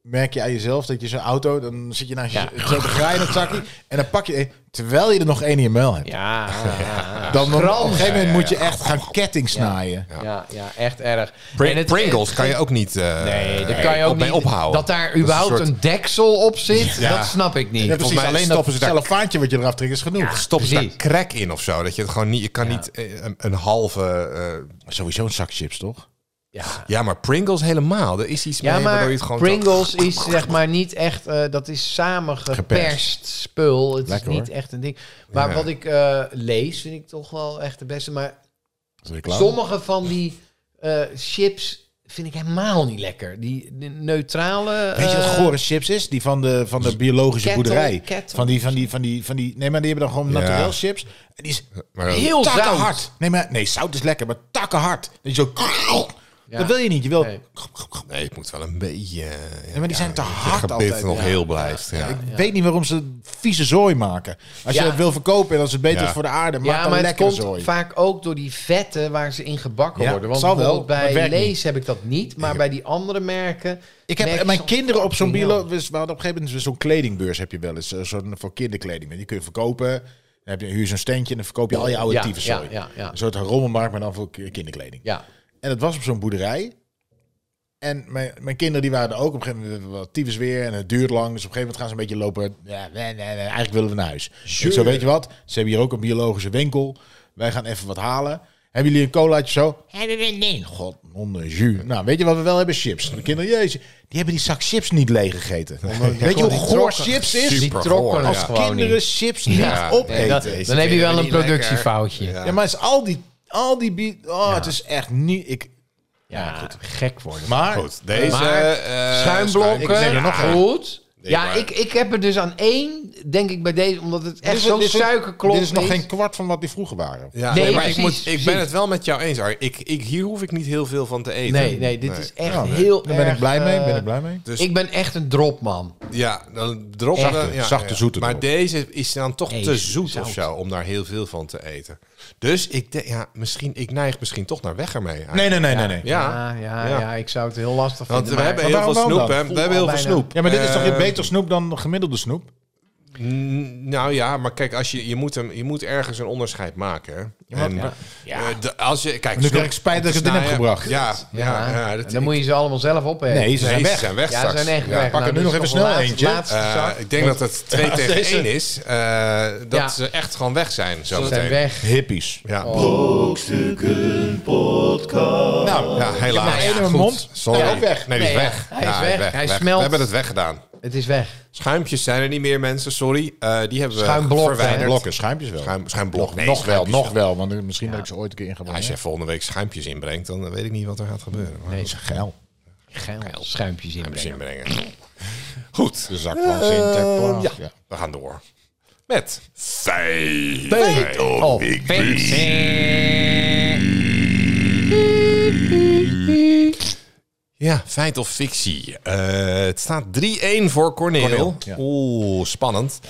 S1: merk je aan jezelf dat je zo'n auto, dan zit je naast je
S3: Ja.
S1: zo te graaien in dat zakje en dan pak je één, terwijl je er nog één in je muil hebt.
S3: ja, ja,
S1: Dan, dan op een gegeven moment
S2: Ja, ja,
S1: moet je
S2: ja.
S1: echt gaan ketting snaaien.
S3: ja, ja, ja, echt erg.
S2: Pri-
S3: En het-
S2: Pringles kan je ook niet eh,
S3: Nee, dat kan je ook
S2: op- mee
S3: niet.
S2: ophouden.
S3: Dat daar
S2: is
S3: überhaupt een,
S2: een soort-
S3: deksel op zit,
S2: Ja.
S3: dat snap ik niet.
S1: Ja, precies.
S2: mij
S1: Alleen dat
S2: stoppen ze daar-
S1: cellofaantje wat je eraf trekt is genoeg.
S2: Stop ze daar
S3: Precies.
S2: crack in of zo. Dat je het gewoon niet... Je kan niet eh, een, een halve... eh,
S1: Sowieso een zak chips, toch?
S3: Ja.
S2: ja, maar Pringles helemaal. Er is iets
S3: Ja,
S2: mee waardoor
S3: maar
S2: je het gewoon... zo-
S3: Pringles is zeg maar niet echt... eh, dat is samengeperst
S1: Geperst.
S3: spul. Het
S1: Lekker,
S3: is niet
S1: hoor.
S3: echt een ding. Maar
S2: Ja.
S3: wat ik eh, lees vind ik toch wel echt de beste. Maar
S1: Dat is reclame.
S3: sommige van die eh, chips vind ik helemaal niet lekker. Die, die neutrale...
S1: Weet je wat
S3: eh,
S1: gore chips is? Die van de, van de biologische
S3: Kettle,
S1: boerderij.
S3: kettle.
S1: Van die, van die, van die, van die. Nee, maar die hebben dan gewoon
S2: Ja.
S1: naturel chips. En die is
S2: Maar dat-
S3: Heel
S1: takken
S3: zout.
S1: hard. Nee, maar nee, zout is lekker, maar takken hard. Dat je zo.
S3: Ja.
S1: Dat wil je niet. Je wil.
S3: Nee.
S2: Nee, het moet wel een beetje... eh,
S1: Nee, maar die zijn te
S2: dat je
S1: hard
S2: gebit
S1: altijd.
S2: nog
S1: Ja.
S2: heel blijft. Ja.
S1: Ik weet niet waarom ze vieze zooi maken. Als
S3: Ja.
S1: je het wil verkopen en als het beter
S2: Ja.
S1: is voor de aarde, maak
S3: Ja,
S1: dan
S3: maar het
S1: lekker
S3: komt
S1: zooi.
S3: vaak ook door die vetten waar ze in gebakken
S1: Ja,
S3: worden. Want
S1: zal wel,
S3: bijvoorbeeld
S1: maar het
S3: bij
S1: werkt niet.
S3: Lees heb ik dat niet. Maar bij die andere merken...
S1: Ik
S3: merk
S1: heb
S3: je
S1: mijn
S3: soms
S1: kinderen op zo'n
S3: fucking
S1: bilo. We hadden op een gegeven moment zo'n kledingbeurs heb je wel eens. eh, Zo'n voor kinderkleding. Die kun je verkopen. Dan heb je, huur je zo'n standje en dan verkoop je al je oude
S3: Ja,
S1: tyfus zooi.
S3: ja, ja, ja.
S1: Een soort rommelmarkt, maar dan voor ki- kinderkleding.
S3: Ja,
S1: En dat was op zo'n boerderij. En mijn, mijn kinderen die waren er ook op een gegeven moment wat tyfus weer en het duurt lang. Dus op een gegeven moment gaan ze een beetje lopen. Ja, nee, nee, nee, eigenlijk willen we naar huis. Ik zo, weet je wat? Ze hebben hier ook een biologische winkel. Wij gaan even wat halen. Hebben jullie een colaatje of zo? Hebben we nee. God, non jus. Nou, weet je wat we wel hebben? Chips. De kinderen, jezus, die hebben die zak chips niet leeg gegeten. Weet je hoe
S3: die
S1: goor
S3: trokken.
S1: chips is?
S3: Die
S2: Super
S3: trokken
S2: goor,
S3: als
S2: ja.
S3: gewoon
S1: Kinderen
S3: niet.
S1: chips niet
S2: Ja.
S1: opeten.
S2: Nee,
S3: Dat-
S2: Deze
S3: dan heb je
S2: vinden
S3: wel
S2: we
S3: een
S2: niet lekker.
S3: productiefoutje.
S1: ja, maar het is al die, al die, bi- oh, het is echt niet, ik,
S3: Ja, gek worden.
S1: maar,
S2: Goed, deze...
S3: Maar
S2: eh,
S3: schuimblokken,
S1: Eh,
S2: schuim- Ik neem er nog een.
S3: goed. ja,
S2: maar-
S3: ik, ik heb er dus aan één, denk ik bij deze, omdat het echt
S1: Dit is-
S3: zo'n
S1: dit is-
S3: suikerklomp
S1: Dit is nog geen kwart van wat die vroeger waren.
S2: Ja,
S3: Nee,
S2: nee, maar ik,
S3: precies,
S2: moet, ik
S3: precies.
S2: ben het wel met jou eens, Arie. Ik, ik, hier hoef ik niet heel veel van te eten.
S3: Nee, nee, dit is echt
S1: Ja,
S3: heel
S1: Daar ben
S3: erg,
S1: ik blij mee.
S3: eh,
S1: Ben ik blij mee.
S2: Dus
S3: Ik ben echt een dropman.
S2: ja, dan drop
S1: Zachte,
S2: dan- ja,
S1: zachte
S2: ja.
S1: zoete
S2: Maar
S1: erop.
S2: deze is dan toch
S3: Nee,
S2: te zoet
S3: zout.
S2: of zo om daar heel veel van te eten. Dus ik denk, ja, misschien, ik neig misschien toch naar weg ermee. eigenlijk.
S1: Nee, nee, nee, nee. nee.
S2: Ja.
S3: ja, ja,
S2: Ja.
S3: ja, ik zou het heel lastig
S2: Want
S3: vinden.
S2: we
S3: maar-
S2: hebben
S1: Maar
S2: heel veel
S1: waarom dan?
S2: snoep, hè?
S1: Voel
S2: We hebben heel veel
S3: bijna.
S2: snoep.
S1: Ja, maar dit is toch
S2: Eh,
S1: weer beter snoep dan gemiddelde snoep?
S2: Mm, Nou ja, maar kijk, als je, je, moet hem, je moet ergens een onderscheid maken. Hè? En, eh, de- als je, kijk,
S1: Nu
S2: snoep
S1: krijg ik spijt dat ik het in heb
S2: snijden-
S1: gebracht.
S2: Ja, ja, ja,
S3: En
S2: dat-
S3: dan moet je ze allemaal zelf opheffen.
S1: Nee, ze
S2: Nee,
S1: zijn
S2: ze
S1: weg.
S2: zijn weg
S3: ja, ze
S2: straks.
S3: zijn echt
S2: Ja.
S3: weg.
S1: pak er
S3: Nou,
S1: nu
S3: dit
S1: nog
S3: is
S1: even snel
S3: een laatste-
S1: eentje.
S3: laatste
S2: Eh,
S3: zak.
S2: ik denk dat het 2 tegen
S1: deze-
S2: 1 is. eh, dat
S3: Ja.
S2: ze echt gewoon weg zijn. Zo
S3: Ze
S2: meteen.
S3: zijn weg. Oh.
S1: Hippies.
S2: Ja.
S1: Nou,
S2: ja, helaas.
S1: één in mijn
S2: Goed.
S1: mond.
S2: Sorry.
S1: Nee, ook weg.
S2: Nee, die is
S3: Nee,
S2: weg.
S3: ja, hij is weg. Hij smelt.
S2: We hebben het weggedaan.
S3: Het is weg.
S2: Schuimpjes zijn er niet meer, mensen. Sorry. Eh, die hebben we
S3: Schuimblok,
S2: verwijderd.
S3: hè?
S1: Blokken, schuimpjes wel.
S2: Schuim, schuimblok.
S1: nog
S2: Nee,
S1: nog wel,
S2: schuimpjes
S1: nog wel. Want misschien dat ik ze ooit een keer in ga
S2: Nou, Als
S1: brengen.
S2: jij volgende week schuimpjes inbrengt, dan eh, weet ik niet wat er gaat gebeuren. Maar
S1: Dat is geil.
S3: Geil. Schuimpjes in.
S2: schuimpjes inbrengen. Goed.
S1: De zak van Sinterklaas.
S2: ja.
S1: Eh, ja.
S2: We gaan door. Met feit.
S3: Oh,
S2: Ja, feit of fictie. Eh, het staat 3-1 voor Corneel.
S1: Corneel, ja.
S2: Oeh, spannend.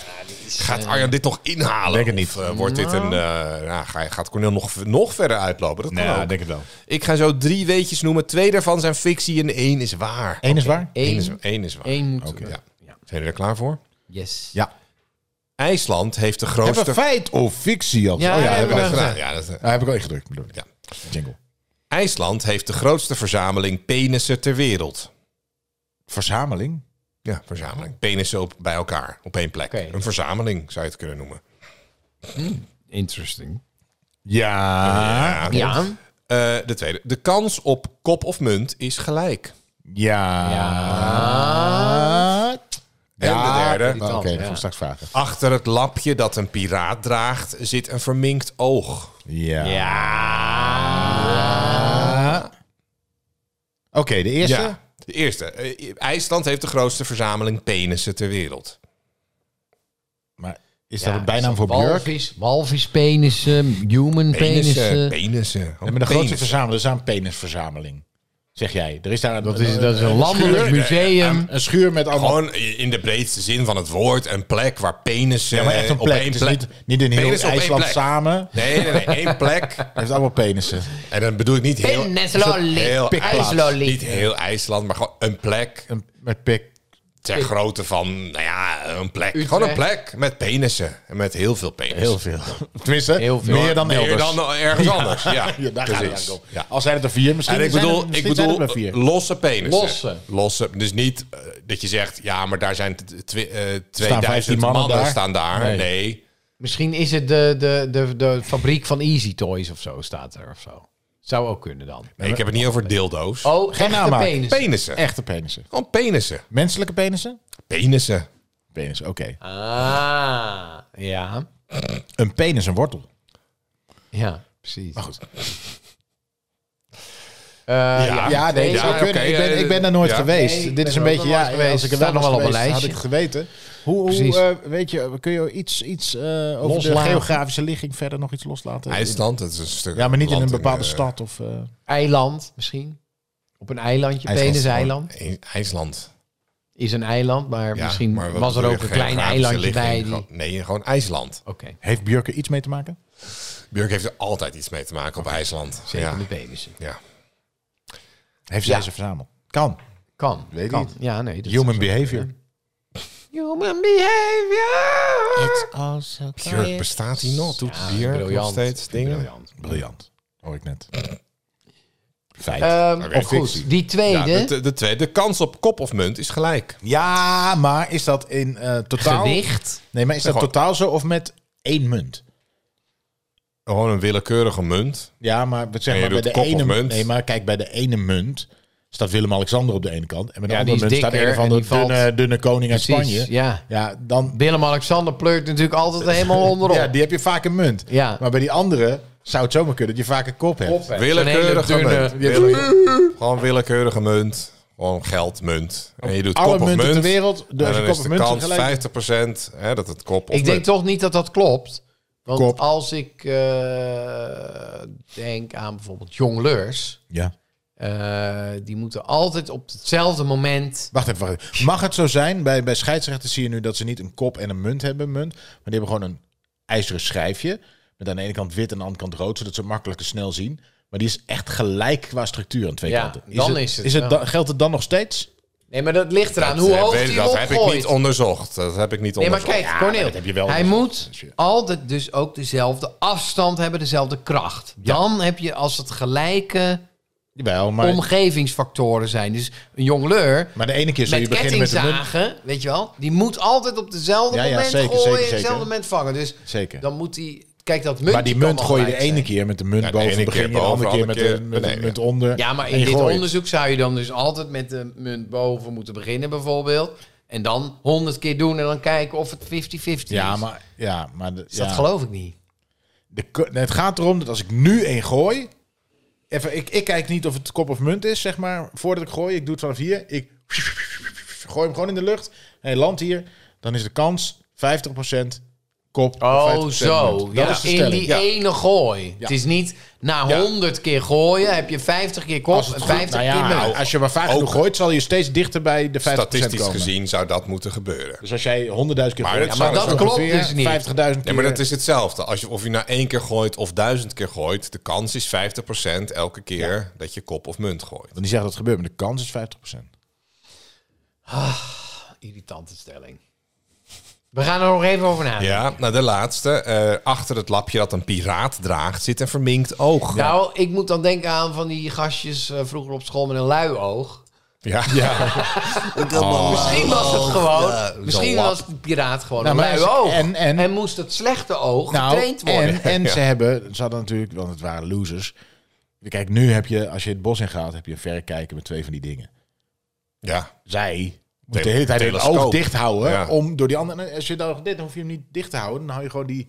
S2: gaat Arjan dit nog inhalen?
S1: eh, denk het niet.
S2: Of, eh, wordt dit een, eh, ja, ga- gaat Corneel nog, nog verder uitlopen? Dat kan
S1: Nou,
S2: ook.
S1: denk het wel.
S2: Ik ga zo drie weetjes noemen. Twee daarvan zijn fictie en één is waar.
S1: Eén is waar?
S2: Eén is,
S3: Eén.
S2: één is waar.
S3: Eén moet-
S2: Oké, ja. Zijn jullie er klaar voor?
S3: Yes.
S1: Ja.
S2: IJsland heeft de
S1: Hebben
S2: grootste...
S1: we feit of fictie? Als...
S3: Ja,
S1: oh,
S3: ja,
S1: ja, hebben we
S2: dat
S1: dat gedaan.
S2: gedaan. Ja, dat, eh,
S1: Ah, heb ik al ingedrukt. bedoel ik.
S2: Ja.
S1: Jingle.
S2: IJsland heeft de grootste verzameling penissen ter wereld.
S1: Verzameling.
S2: Ja, verzameling. Penissen op, bij elkaar, op één plek.
S3: Oké.
S2: Een verzameling zou je het kunnen noemen.
S3: Interesting.
S1: Ah, Ja.
S2: Ja.
S3: Ja.
S2: Eh, de tweede. De kans op kop of munt is gelijk.
S1: Ja.
S2: En de derde.
S1: Maar Oké,
S3: Ja.
S1: dat gaan we straks vragen.
S2: Achter het lapje dat een piraat draagt zit een verminkt oog.
S1: Ja.
S2: Ja.
S1: Oké, de eerste.
S2: De eerste. Eh, IJsland heeft de grootste verzameling penissen ter wereld.
S1: Maar is dat een bijnaam voor Björk? We
S3: Walvis, walvispenissen, human
S2: Penissen.
S3: penissen.
S2: Penissen.
S1: hebben de grootste
S2: Penissen.
S1: verzameling. Dat is een penisverzameling. Zeg jij. Er is daar een,
S3: Dat is, dat is een landelijk
S2: schuur.
S3: museum.
S1: een schuur met allemaal...
S2: Gewoon in de breedste zin van het woord een plek waar penissen
S1: ja, maar echt een
S2: eh, op
S1: plek.
S2: één
S1: Het is
S2: plek.
S1: niet, niet in heel
S2: Penis op één
S1: IJsland
S2: plek.
S1: samen.
S2: Nee, nee, nee, één plek.
S1: Hij heeft allemaal penissen.
S2: En dan bedoel ik niet heel,
S5: Penislolly.
S2: heel,
S1: Pikplaats.
S2: IJsland, niet heel IJsland, maar gewoon een plek
S1: Een, met pik.
S2: ter grootte van, nou ja, een plek. Gewoon een plek met penissen en met heel veel penissen.
S1: Heel veel. Tenminste,
S3: Heel veel.
S1: meer dan
S2: Meer
S1: elders.
S2: dan ergens anders. Ja,
S1: Ja, daar gaat
S2: precies.
S1: het aan
S2: Ja.
S1: komen. Al zijn het er vier, misschien
S2: En ik
S1: zijn
S2: bedoel,
S1: er,
S2: ik
S1: misschien zijn
S2: bedoel
S1: er maar vier.
S2: losse penissen.
S3: Losse.
S2: Losse. Dus niet eh, dat je zegt, ja, maar daar zijn t- twi- eh, 2000
S1: 15
S2: mannen,
S1: mannen daar.
S2: staan daar. Nee.
S1: Nee.
S3: Misschien is het de, de, de, de fabriek van Easy Toys of zo, staat er of zo. Zou ook kunnen dan.
S2: Nee, ik heb het niet over dildo's.
S3: Oh, geen echte
S1: namaak.
S3: penis.
S2: Penissen.
S1: Echte penissen.
S2: Gewoon penissen.
S1: Menselijke penissen?
S2: Penissen.
S1: Penissen, oké.
S3: Ah, ja.
S1: Een penis, een wortel.
S3: Ja, precies.
S1: Maar goed.
S3: Eh,
S2: Ja.
S1: Ah, Ja, nee,
S2: Ah, Ja,
S1: dat zou
S2: oké,
S1: kunnen. ik, ben,
S2: eh,
S1: ik ben daar nooit
S2: ja.
S1: geweest.
S3: Nee, ik
S1: Dit
S3: ben
S1: is een
S3: er ook
S1: beetje,
S3: nog
S1: ja,
S3: nooit geweest.
S1: als ik er
S3: Staat
S1: wel
S3: nog
S1: was
S3: wel op een
S1: geweest, had ik
S3: lijstje.
S1: het geweten. Hoe, hoe
S3: Precies.
S1: eh, weet je, kun je iets, iets eh, over
S3: Loslaten.
S1: de geografische ligging verder nog iets loslaten?
S2: IJsland, dat is een stuk.
S1: Ja, maar niet in
S2: land
S1: een bepaalde
S2: eh,
S1: stad of... eh,
S3: Eiland misschien. Op een eilandje,
S1: IJsland.
S3: Penis-eiland.
S2: I- IJsland.
S3: Is een eiland, maar
S2: Ja,
S3: misschien
S2: maar wat
S3: was er
S2: bedoel
S3: ook
S2: je,
S3: een klein
S2: geografische
S3: eilandje
S2: ligging?
S3: bij. Die...
S2: Gewoon-
S3: Oké.
S2: nee, gewoon IJsland.
S1: heeft Björk er iets mee te maken?
S2: Björk heeft er altijd iets mee te maken op IJsland.
S3: Zeker
S2: Ja.
S3: met penissen.
S2: ja.
S1: Heeft
S3: Ja.
S1: zij ze verzameld? Kan.
S3: Kan.
S1: Weet
S3: kan.
S1: niet.
S3: Ja, nee. dat
S1: Human
S3: zou zo
S1: behavior.
S5: Human behavior.
S2: Björk bestaat hier nog. Doet
S3: Ja,
S2: hier nog
S3: briljant.
S2: steeds dingen.
S3: Briljant.
S1: Briljant. Hoor ik net. Feit.
S3: Ehm,
S2: Oké,
S5: oh,
S3: of
S2: fictie.
S3: goed, die
S2: Ja,
S3: tweede.
S2: de, de, de tweede. De kans op kop of munt is gelijk.
S1: ja, maar is dat in eh, totaal...
S3: Gewicht.
S1: Nee, maar is dat
S2: Gewoon-
S1: totaal zo of met één munt?
S2: Gewoon een willekeurige munt.
S1: Ja, maar we
S2: En je
S1: zeggen maar bij
S2: doet
S1: de
S2: kop of
S1: ene
S2: munt.
S1: Nee, maar kijk, bij de ene munt staat Willem-Alexander op de ene kant. En bij de
S3: Ja,
S1: andere
S3: die
S1: munt
S3: is
S1: staat
S3: dikker
S1: een van de
S3: en die valt-
S1: dunne, dunne koning uit
S3: Precies,
S1: Spanje.
S3: ja.
S1: Ja, dan,
S3: Willem-Alexander pleurt natuurlijk altijd helemaal onderop.
S1: ja, die heb je vaak een munt.
S3: Ja.
S1: Maar bij die andere zou het zomaar kunnen dat je vaak een kop hebt.
S3: Op, hè. Zo'n hele
S2: Willekeurige
S3: dunne-
S2: munt. Wille- Gewoon willekeurige munt. Gewoon geld, munt. En je doet
S1: Alle
S2: kop of
S1: munten
S2: munt.
S1: ter wereld, de,
S2: en
S1: als je
S2: dan
S1: kop
S2: is
S1: of
S2: de
S1: munt
S2: kans
S1: tegelijk-
S2: 50% hè, dat het kop of
S5: Ik denk
S2: munt-
S5: toch niet dat dat klopt. Want
S1: Kop.
S5: als ik eh, denk aan bijvoorbeeld jongleurs,
S1: Ja.
S5: eh, die moeten altijd op hetzelfde moment.
S1: Wacht even, wacht even. Mag het zo zijn, bij, bij scheidsrechters zie je nu dat ze niet een kop en een munt hebben, munt, maar die hebben gewoon een ijzeren schijfje. Met aan de ene kant wit en aan de andere kant rood, zodat ze het makkelijk en snel zien. Maar die is echt gelijk qua structuur aan twee
S5: Ja,
S1: kanten.
S5: dan is het, ja.
S1: dan- geldt het dan nog steeds?
S5: Nee, maar dat ligt eraan
S2: Dat,
S5: hoe
S2: eh,
S5: hoog
S2: weet-
S5: die
S2: Dat
S5: hem
S2: heb ik niet
S5: opgooit.
S2: onderzocht. Dat heb ik niet
S5: Nee, maar
S2: onderzocht.
S5: kijk, Cornel,
S1: dat heb je wel
S5: hij moet
S1: onderzocht.
S5: altijd dus ook dezelfde afstand hebben, dezelfde kracht. Dan heb je als het gelijke
S1: Jawel, maar,
S5: omgevingsfactoren zijn. Dus een jongleur
S1: maar de ene keer zul je
S5: met
S1: beginnen met een munt.
S5: kettingzagen, weet je wel, die moet altijd op dezelfde
S1: Ja, ja,
S5: moment
S1: zeker,
S5: gooien,
S1: zeker, zeker.
S5: dezelfde moment vangen. Dus
S1: Zeker.
S5: dan moet hij, kijk dat munt.
S1: maar die munt gooi je de ene keer met de munt
S2: Ja, de
S1: boven,
S2: ene
S1: begin je
S2: keer
S1: de andere
S2: boven,
S1: keer met
S2: andere
S1: de
S2: keer
S1: met de
S2: beneden.
S1: munt onder.
S5: Ja, maar
S1: en
S5: in
S1: je
S5: dit
S1: gooit.
S5: onderzoek zou je dan dus altijd met de munt boven moeten beginnen bijvoorbeeld. En dan honderd keer doen en dan kijken of het 50-50 is.
S1: Ja, maar... Ja, maar de-
S5: Dus dat
S1: ja.
S5: geloof ik niet.
S1: De, ko- nee, het gaat erom dat als ik nu één gooi. Even, ik, ik kijk niet of het kop of munt is, zeg maar. Voordat ik gooi, ik doe het vanaf hier. Ik gooi hem gewoon in de lucht. Hij landt hier. Dan is de kans 50% kop.
S5: Oh,
S1: 50%
S5: zo.
S1: munt. Dat
S5: Ja,
S1: is de
S5: in
S1: stelling.
S5: die
S1: Ja.
S5: ene gooi. Het is niet na
S1: Ja.
S5: 100 keer gooien heb je 50 keer kop
S1: Als
S5: en
S1: het goed-
S5: 50
S1: nou ja,
S5: keer munt.
S1: Als je maar vaak
S2: Ook-
S1: genoeg gooit, zal je steeds dichter bij de 50%
S2: Statistisch
S1: komen.
S2: gezien zou dat moeten gebeuren.
S1: Dus als jij 100.000 keer
S2: Maar
S1: gooit,
S2: dat
S1: dan
S2: zou- Ja, maar
S5: dat
S1: ongeveer
S5: klopt dus niet.
S1: 50.000
S2: Nee,
S1: keer.
S2: maar dat is hetzelfde. Als je, of je nou één keer gooit of duizend keer gooit, de kans is 50% elke keer dat je kop of munt gooit.
S1: Dan die zeggen dat het gebeurt, maar de kans is 50%.
S5: Irritante stelling. We gaan er nog even over nadenken.
S2: Ja, nou de laatste. Eh, achter het lapje dat een piraat draagt zit een verminkt oog.
S5: Nou, ik moet dan denken aan van die gastjes eh, vroeger op school met een lui oog.
S2: Ja. ja. Oh.
S5: misschien was het
S1: Oh,
S5: gewoon, misschien was de piraat gewoon
S1: Nou,
S5: een
S1: maar
S5: lui
S1: ze-
S5: oog.
S1: en- en-
S5: moest het slechte oog
S1: Nou,
S5: getraind worden.
S1: en, en ze hebben, ze hadden natuurlijk, want het waren losers. Kijk, nu heb je, als je het bos in gaat, heb je een verrekijker met twee van die dingen.
S2: ja.
S1: Zij
S2: Tele-
S1: moeten de hele tijd het
S2: telescoop.
S1: oog dicht houden
S2: Ja.
S1: om door die andere. en Als je dan dit, dan hoef je hem niet dicht te houden. Dan hou je gewoon die,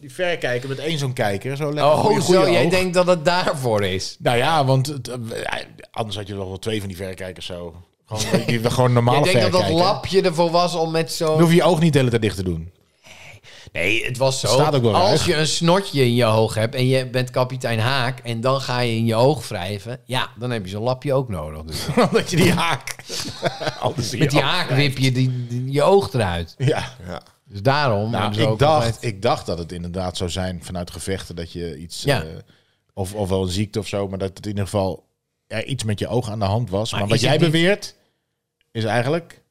S1: die verrekijker met één zo'n kijker. Zo lekker
S5: oh,
S1: voor je goede
S5: zo, jij
S1: oog.
S5: denkt dat het daarvoor is.
S1: Nou ja, want het, eh, anders had je toch wel twee van die verrekijkers zo. Gewoon, die, gewoon
S5: Jij
S1: normale
S5: denkt dat dat
S1: verrekijker.
S5: lapje ervoor was om met
S1: Dan
S5: zo'n...
S1: hoef je je oog niet de hele tijd dicht te doen.
S5: Nee, het was zo.
S1: Staat ook wel
S5: als
S1: ruig.
S5: je een snotje in je oog hebt en je bent kapitein Haak en dan ga je in je oog wrijven, ja, dan heb je zo'n lapje ook nodig. Dus
S1: Omdat je die haak. Anders zie je
S5: met die
S1: ook-
S5: haak wip je die, die- je oog eruit.
S1: Ja.
S2: ja.
S5: Dus daarom.
S1: Nou,
S5: hebben ze
S1: ik
S5: ook altijd-
S1: dacht, ik dacht dat het inderdaad zou zijn vanuit gevechten dat je iets.
S5: Ja.
S1: eh, of, of wel een ziekte of zo, maar dat het in ieder geval er iets met je oog aan de hand was. Maar,
S5: Maar
S1: wat
S5: is het
S1: jij
S5: niet-
S1: beweert is eigenlijk.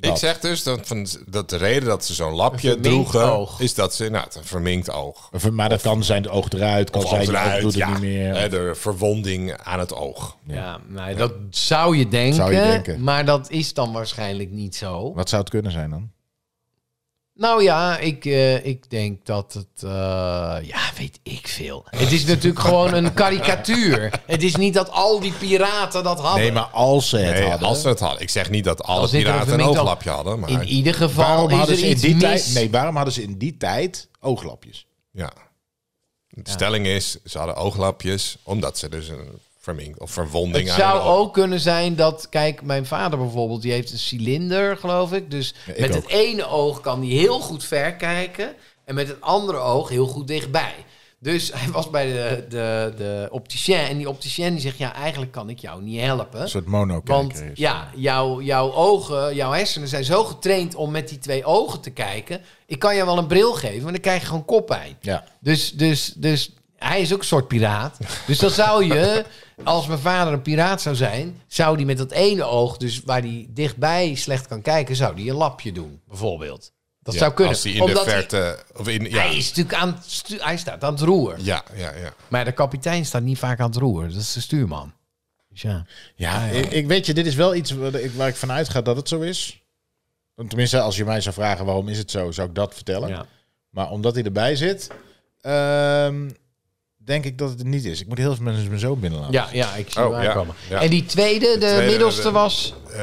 S2: Ik
S1: dat.
S2: zeg dus dat, van, dat de reden dat ze zo'n lapje
S5: Een verminkt
S2: droegen,
S5: oog.
S2: is dat ze, nou, het een verminkt oog.
S1: Of- Maar dat kan zijn het oog eruit, kan
S2: Of
S1: zijn het oog
S2: achteruit,
S1: doet het
S2: ja.
S1: niet meer.
S2: Hè, de verwonding aan het oog.
S5: Ja, nou, dat zou je, denken,
S1: Zou je denken.
S5: maar dat is dan waarschijnlijk niet zo.
S1: Wat zou het kunnen zijn dan?
S5: Nou ja, ik, eh, ik denk dat het... eh, ja, weet ik veel. Het is natuurlijk gewoon een karikatuur. Het is niet dat al die piraten dat hadden.
S1: Nee, maar als ze het
S2: Nee,
S1: hadden.
S2: als ze het hadden. Ik zeg niet dat alle
S5: Dan zit er
S2: piraten een
S5: verminkt oog.
S2: ooglapje hadden, maar...
S5: In ieder geval
S1: waarom
S5: is
S1: hadden
S5: er
S1: ze in
S5: iets
S1: die
S5: mis.
S1: tijd? Nee, waarom hadden ze in die tijd ooglapjes?
S2: Ja. De stelling is, ze hadden ooglapjes, omdat ze dus een verminkt of verwonding
S5: Het
S2: aan
S5: zou
S2: hun oog-
S5: ook kunnen zijn dat, kijk, mijn vader bijvoorbeeld, die heeft een cilinder, geloof ik. Dus
S1: ik
S5: met
S1: ook.
S5: het ene oog kan hij heel goed verkijken en met het andere oog heel goed dichtbij. Dus hij was bij de, de, de opticien en die opticien die zegt, ja, eigenlijk kan ik jou niet helpen.
S1: Een soort mono
S5: Want ja, jouw, jouw ogen, jouw hersenen zijn zo getraind om met die twee ogen te kijken. Ik kan je wel een bril geven, maar dan krijg je gewoon koppijn.
S1: ja.
S5: Dus, dus, dus hij is ook een soort piraat. Dus dan zou je, als mijn vader een piraat zou zijn, zou die met dat ene oog, dus waar hij dichtbij slecht kan kijken, zou die een lapje doen, bijvoorbeeld. Dat
S2: Ja,
S5: zou kunnen.
S2: Als die in de
S5: Omdat hij-
S2: verte... Of in, ja,
S5: Hij, is natuurlijk aan, het stu- hij staat aan het roer.
S2: ja, ja, ja.
S5: Maar de kapitein staat niet vaak aan het roer. Dat is de stuurman. Dus ja.
S1: Ja, Ik, ik weet je, dit is wel iets waar ik, waar ik van uitga dat het zo is. Tenminste, als je mij zou vragen waarom is het zo, zou ik dat vertellen.
S5: ja.
S1: Maar omdat hij erbij zit, ehm, denk ik dat het er niet is. Ik moet heel veel mensen mijn zoon binnenlaten.
S5: Ja, ja, ik zie
S2: Oh,
S5: hem
S2: ja,
S5: aankomen.
S2: ja.
S5: En die tweede, de,
S2: tweede,
S5: middelste
S2: de-
S5: was...
S2: Eh,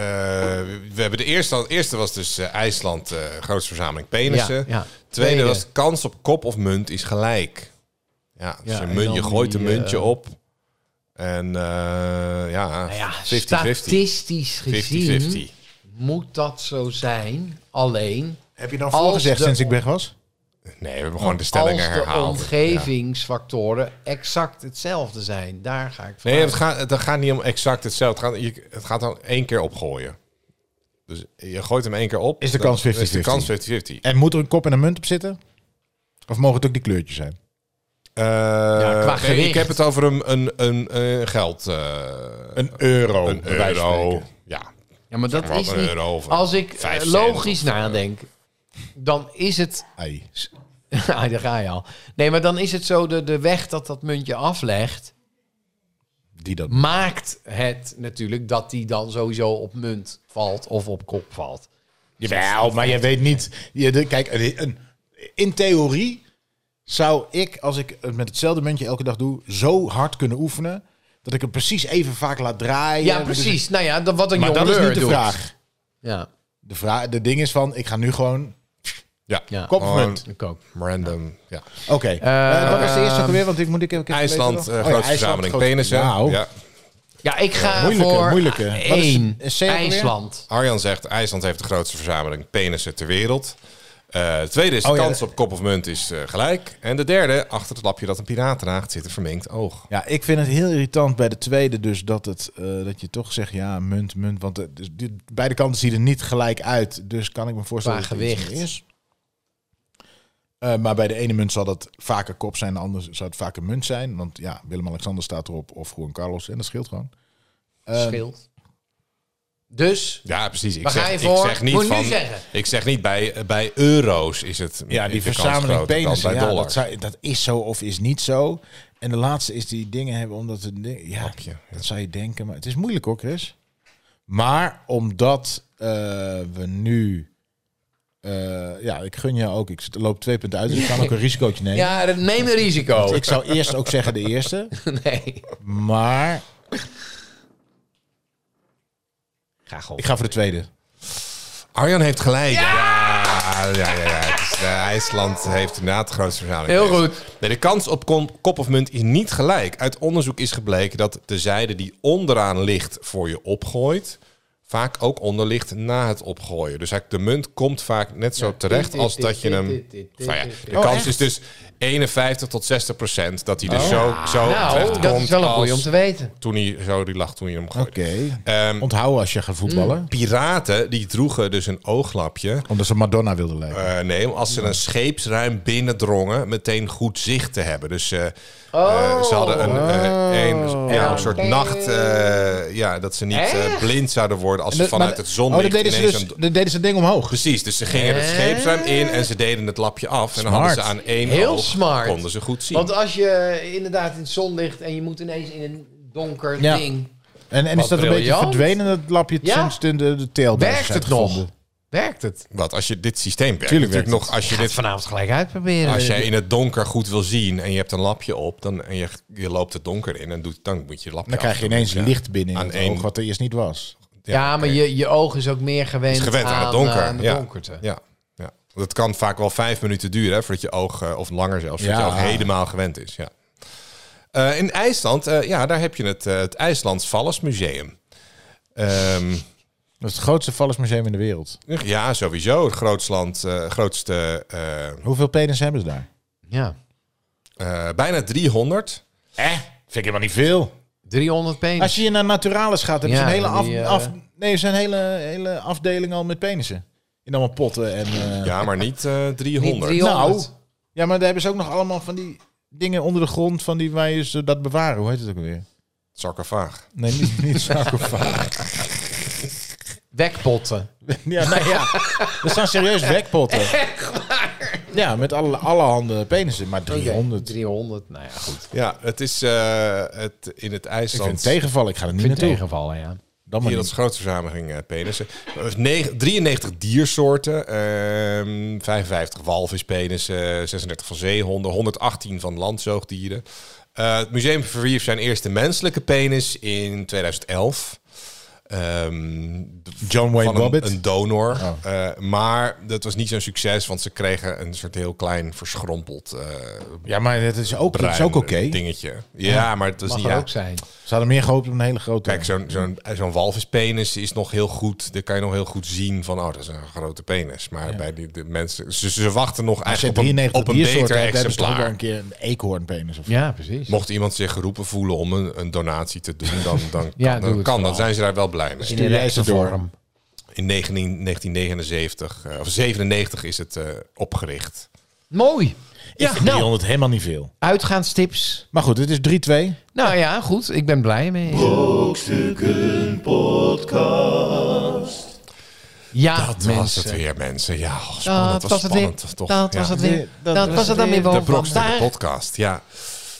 S2: we hebben de eerste, de eerste was dus eh, IJsland, eh grootste verzameling penissen.
S5: Ja, ja.
S2: Tweede,
S5: Tweede.
S2: was de kans op kop of munt is gelijk. Ja, dus
S5: Ja,
S2: een
S5: en
S2: munt,
S5: dan
S2: je gooit
S5: die,
S2: een muntje
S5: eh,
S2: op. En eh, ja,
S5: Nou ja,
S2: 50-50.
S5: statistisch gezien
S2: 50-50.
S5: moet dat zo zijn. Alleen
S1: Heb je dan
S5: Als
S1: voorgezegd
S5: de-
S1: sinds ik weg was?
S2: Nee, we hebben gewoon de
S5: als
S2: stellingen
S5: de
S2: herhaald. Ja.
S5: omgevingsfactoren exact hetzelfde zijn. Daar ga ik van.
S2: Nee,
S5: uit.
S2: het gaat, het gaat niet om exact hetzelfde. Het gaat, je- het gaat dan één keer opgooien. Dus je gooit hem één keer op.
S1: Is de
S2: dan
S1: kans 50-50?
S2: Is de kans 50-50.
S1: En moet er een kop en een munt op zitten? Of mogen het ook die kleurtjes zijn?
S2: Eh,
S5: qua
S2: nee,
S5: gewicht.
S2: ik heb het over een, een, een, een geld. eh,
S1: Een euro.
S2: een
S1: bij wijze van
S2: euro.
S1: spreken.
S2: Ja,
S5: ja, maar dat
S2: maar
S5: is
S2: een
S5: niet.
S2: euro of
S5: Als ik eh,
S2: vijf cent
S5: logisch
S2: of, eh,
S5: nadenk, dan is het
S1: Ai.
S5: Ah, daar ga je al. Nee, maar dan is het zo, de, de weg dat dat muntje aflegt,
S1: Die dat.
S5: maakt het natuurlijk dat die dan sowieso op munt valt of op kop valt.
S1: Jawel, maar je weet niet. Je, de- kijk, een, een- in theorie zou ik, als ik het met hetzelfde muntje elke dag doe, zo hard kunnen oefenen. dat ik hem precies even vaak laat draaien.
S5: Ja,
S1: Dus-
S5: precies. Nou ja, dat, wat een
S1: maar dat is
S5: jongleur
S1: niet de
S5: doet.
S1: vraag.
S5: Ja,
S1: De, vraag. de ding is van, ik ga nu gewoon
S2: ja. Oh,
S5: ja.
S1: kop of
S2: Gewoon-
S1: munt.
S5: Ik ook.
S2: Random. Ja.
S1: Oké. Eh, wat was de eerste ook alweer? Want ik moet ik even even
S2: IJsland,
S1: weten
S2: eh,
S1: nog.
S2: grote
S1: Oh ja, IJsland,
S2: verzameling
S1: grote-
S2: penissen.
S1: Wauw.
S2: Ja.
S5: Ja, ik ga
S1: Moeilijke,
S5: voor
S1: moeilijke. Wat is de-
S5: één.
S1: is C ook alweer?
S5: IJsland.
S2: Arjan zegt, IJsland heeft de grootste verzameling penissen ter wereld. Eh, de tweede is, de
S1: Oh ja,
S2: kans
S1: dat-
S2: op kop of munt is eh, gelijk. En de derde, achter het lapje dat een piraat draagt, zit een verminkt oog.
S1: Ja, ik vind het heel irritant bij de tweede dus dat, het, eh, dat je toch zegt, ja, munt, munt. Want eh, dus die- beide kanten zien er niet gelijk uit. Dus kan ik me voorstellen
S5: Qua
S1: dat het iets
S5: gewicht.
S1: meer is. Eh, maar bij de ene munt zal dat vaker kop zijn, de andere zou het vaker munt zijn. Want ja, Willem-Alexander staat erop of gewoon Carlos. En dat scheelt gewoon. Eh,
S5: Scheelt. Dus,
S2: Ja, precies. Ik
S5: Waar ga
S2: zeg,
S5: je
S2: ik
S5: voor?
S2: zeg niet
S5: Moet je nu
S2: van,
S5: zeggen.
S2: Ik zeg niet, bij, eh, bij euro's is het
S1: ja, die
S2: is de kans
S1: verzameling
S2: groter dan
S1: penissen,
S2: bij
S1: ja,
S2: dollar.
S1: dat, zou- dat is zo of is niet zo. En de laatste is die dingen hebben omdat het... ding- Ja,
S2: Hapje, ja.
S1: dat zou je denken, maar het is moeilijk hoor, Chris. Maar omdat eh, we nu... eh, ja, ik gun je ook. Ik zit- loop twee punten uit, dus ik kan ook een risicootje nemen.
S5: ja, dat neem een risico.
S1: Ik zou eerst ook zeggen de eerste,
S5: Nee.
S1: maar
S5: Ga gewoon.
S1: ik ga voor de tweede.
S2: Arjan heeft gelijk. Ja! Ja, ja, ja. Het is, eh, IJsland heeft inderdaad de grootste verzameling.
S5: Heel
S2: penissen.
S5: goed.
S2: Nee, de kans op kom- kop of munt is niet gelijk. Uit onderzoek is gebleken dat de zijde die onderaan ligt voor je opgooit... vaak ook onder ligt na het opgooien. Dus eigenlijk de munt komt vaak net zo terecht als dat je hem... Enfin ja, de
S1: Oh,
S2: kans
S1: echt?
S2: is dus 51 tot 60 procent dat hij er zo, zo terecht
S5: Oh. Nou,
S2: komt
S5: dat is wel een goeie
S2: als
S5: om te weten.
S2: Toen hij zo die lag toen hij hem gooide.
S1: Oké.
S2: Ehm,
S1: Onthouden als je gaat voetballen.
S2: Mm. piraten die droegen dus een ooglapje...
S1: Omdat ze Madonna wilden lijken.
S2: Eh, nee, maar als ze een scheepsruim binnendrongen, meteen goed zicht te hebben. Dus eh, eh,
S1: Oh.
S2: ze hadden een, eh, een, ja, een soort nacht, eh, ja, dat ze niet eh, blind zouden worden als ze
S1: Dat-
S2: vanuit
S1: maar-
S2: het
S1: Oh,
S2: zonlicht
S1: dat deden ze
S2: ineens
S1: dus,
S2: een-
S1: dat deden ze het ding omhoog.
S2: Precies, dus ze gingen het scheepsruim in en ze deden het lapje af. En dan hadden ze
S1: Smart.
S2: aan één
S5: Heel
S2: oog,
S5: smart.
S2: konden ze goed zien.
S5: Want als je inderdaad in het zonlicht en je moet ineens in een donker
S1: Ja.
S5: ding.
S1: En, en
S5: Wat
S1: is dat een beetje
S5: briljant.
S1: verdwenen, dat lapje,
S5: Ja.
S1: sinds de, de, de teelbel
S5: Werkt
S1: zijn
S5: het nog?
S1: gevonden?
S5: Werkt het?
S2: Wat, als je dit systeem werkt,
S1: Tuurlijk
S2: natuurlijk
S1: werkt
S2: nog, als je
S5: Dit
S2: dit...
S5: vanavond gelijk uitproberen.
S2: Als jij in het donker goed wil zien en je hebt een lapje op dan, en je, je loopt het donker in en doet, dan moet je het lapje
S1: Dan krijg je
S2: afdoen,
S1: ineens
S2: ja.
S1: licht binnen in
S2: Aan
S1: het
S2: één-
S1: oog, wat er eerst niet was.
S5: ja, maar je, je oog is ook meer gewend,
S2: is gewend aan, het donker.
S5: eh, aan de
S2: ja.
S5: donkerte.
S2: Ja. ja. Dat kan vaak wel vijf minuten duren hè, voordat je oog, eh, of langer zelfs, voordat
S1: Ja.
S2: je oog helemaal gewend is. Ja. Eh, in IJsland, eh, ja, daar heb je het, eh, het IJslands Vallismuseum. Ehm,
S1: Dat is het grootste vallersmuseum in de wereld.
S2: ja, sowieso. Het grootste land, eh, grootste, eh,
S1: Hoeveel penissen hebben ze daar?
S5: Ja.
S2: eh, bijna 300.
S1: Eh, vind ik helemaal niet veel.
S5: 300 penis.
S1: Als je hier naar Naturalis gaat, hebben ze
S5: Ja,
S1: een hele, af,
S5: die, eh,
S1: af, nee, er zijn hele, hele afdeling al met penissen. In allemaal potten en... eh,
S2: Ja, maar niet eh, 300.
S5: Niet 300.
S1: Nou. ja, maar daar hebben ze ook nog allemaal van die dingen onder de grond, van die waar je ze dat bewaren. Hoe heet het ook alweer?
S2: Sarcofaag.
S1: Nee, niet, niet sarcofaag.
S5: Wekpotten.
S1: Ja, nou ja. Er staan serieus wekpotten. Ja, met alle, allerhande penissen. Maar 300.
S5: 300. Nou ja, goed.
S2: Ja, het is eh, het, in het
S1: Ik vind het
S2: IJsland.
S1: tegenval. Ik ga er niet
S5: In
S1: naartoe.
S5: tegenvallen, ja.
S1: Dan maar
S2: Hier dat
S1: niet.
S2: is grootste verzameling eh, penissen. Eh, negen- 93 diersoorten, ehm 55 walvispenissen, 36 van zeehonden, 118 van landzoogdieren. Eh, het museum verwierf zijn eerste menselijke penis in 2011. ehm, d-
S1: John Wayne Oh.
S2: van een-
S1: Bobbitt?
S2: Een, donor. Eh, maar dat was niet zo'n succes, want ze kregen een soort heel klein verschrompeld eh
S1: Ja, maar het is ook, het is
S2: bruin
S1: ook oké.
S2: dingetje. Ja, maar het was
S5: Mag
S2: niet...
S5: er
S2: ja.
S5: ook zijn.
S1: Ze hadden meer gehoopt op een hele grote...
S2: Kijk, zo'n zo'n zo'n walvispenis is nog heel goed. Daar kan je nog heel goed zien van, oh, dat is een grote penis. Maar bij die, de mensen, ze, ze wachten nog
S1: als je
S2: eigenlijk op een,
S1: 93
S2: op een
S1: diersoorten
S2: beter
S1: hebt, hebben ze toch ook wel
S2: exemplaar.
S1: een keer een eekhoornpenis of
S5: Ja, precies.
S2: Mocht iemand zich geroepen voelen om een, een donatie te doen, dan, dan,
S5: Ja,
S2: kan-
S5: doe
S2: dan
S5: het
S2: kan. Dan
S5: vooral.
S2: zijn ze daar wel blij mee.
S5: in
S1: Stuur jij
S5: rechte
S1: ze door?
S5: vorm.
S2: In 19, 1979, eh, of 97 is het eh, opgericht.
S5: Mooi.
S1: Ik vind
S5: nou.
S1: 300 helemaal niet veel.
S5: Uitgaanstips.
S1: Maar goed, het is 3-2.
S5: Nou ja, goed. Ik ben blij mee. Ja,
S2: Dat
S5: Ah, mensen.
S2: was het weer, mensen. Ja, oh,
S5: Dat
S2: spannend. Dat was
S5: was het weer.
S2: spannend. Toch,
S5: Dat
S2: ja.
S5: was het weer.
S1: Dat
S5: Dat,
S1: was
S5: was het dan weer
S2: De
S5: wel
S2: Brokstukken
S5: vandaag.
S2: podcast, ja.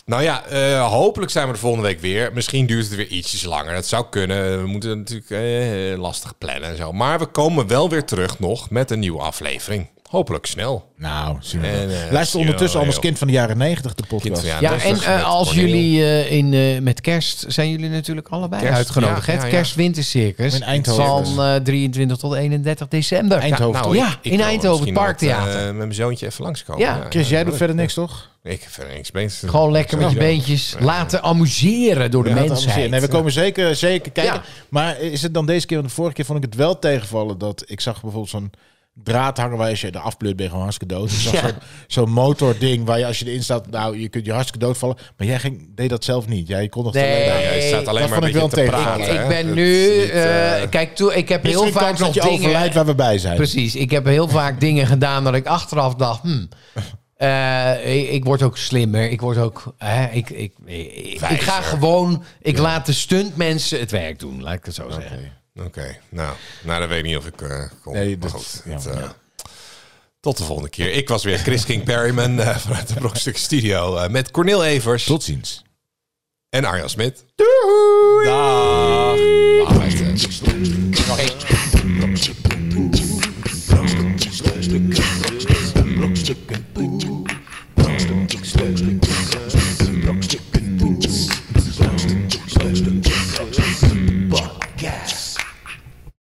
S2: Nou ja, eh, hopelijk zijn we er volgende week weer. Misschien duurt het weer ietsjes langer. Dat zou kunnen. We moeten natuurlijk eh, lastig plannen en zo. Maar we komen wel weer terug nog met een nieuwe aflevering. Hopelijk snel.
S1: Nou, zien we
S2: En,
S1: wel.
S2: eh,
S1: Luister ondertussen
S2: joh,
S1: al als
S2: joh.
S1: kind van de jaren 90 de
S2: Kind
S1: podcast.
S2: van
S5: Ja,
S2: 90
S5: en eh,
S2: dus met
S5: als
S2: Corneel.
S5: jullie eh, in, eh, met kerst zijn jullie natuurlijk allebei
S2: Kerst,
S5: uitgenodigd.
S2: ja,
S5: hè?
S2: ja,
S5: het
S2: ja.
S5: kerstwintercircus
S1: In Eindhoven.
S5: van eh, 23 tot 31 december.
S1: Eindhoven.
S5: Ja,
S1: Nou,
S5: nou, ja,
S2: ik
S5: in
S2: wil
S5: Eindhoven, het
S2: misschien
S5: Parktheater.
S2: Met, eh, met mijn zoontje even langskomen.
S5: Ja.
S1: Chris, jij doet verder niks, toch?
S2: Ik heb verder niks beter. te doen.
S5: Gewoon lekker met je beentjes laten amuseren door de
S1: Laten we
S5: mensheid.
S1: amuseren. Nee, we komen zeker, zeker kijken.
S5: Ja.
S1: Maar is het dan deze keer, want de vorige keer vond ik het wel tegenvallen dat ik zag bijvoorbeeld zo'n draad hangen waar als je eraf pleurt ben je gewoon hartstikke dood. Ik zag zo'n, zo'n motording waar je als je erin staat, nou je kunt je hartstikke dood vallen. Maar jij ging, deed dat zelf niet. Jij kon nog
S5: Nee.
S2: Ja, jij staat
S1: dat
S2: alleen maar
S1: vond ik
S2: een
S1: wel
S2: beetje te
S1: tegen.
S2: praten.
S5: Ik
S2: hè.
S5: ben
S2: Het
S5: nu...
S2: is niet,
S5: eh,
S2: eh,
S5: kijk, toe, ik heb heel
S1: Heel
S5: vaak nog
S1: dat je
S5: dingen...
S1: overlijdt waar we bij zijn.
S5: Precies. Ik heb heel vaak dingen gedaan dat ik achteraf dacht... Hmm, eh, ik, ik word ook slimmer. Ik word ook... hè, ik, ik, ik, ik ga
S2: Wijzer.
S5: gewoon... Ik laat de stuntmensen het werk doen. Laat ik het zo zeggen.
S2: Oké, nou, nou, dan weet ik niet of ik eh kom.
S1: Nee,
S2: maar
S1: dat-
S2: goed.
S1: ja,
S2: het, eh,
S1: ja.
S2: Tot de volgende keer. Ik was weer Chris King Perryman eh, vanuit de Brokstuk Studio eh, met Cornel Evers
S1: Tot ziens.
S2: en Arjan Smit.
S5: Doei!
S2: Dag.
S6: Brokstukken, brokstukken, brokstukken.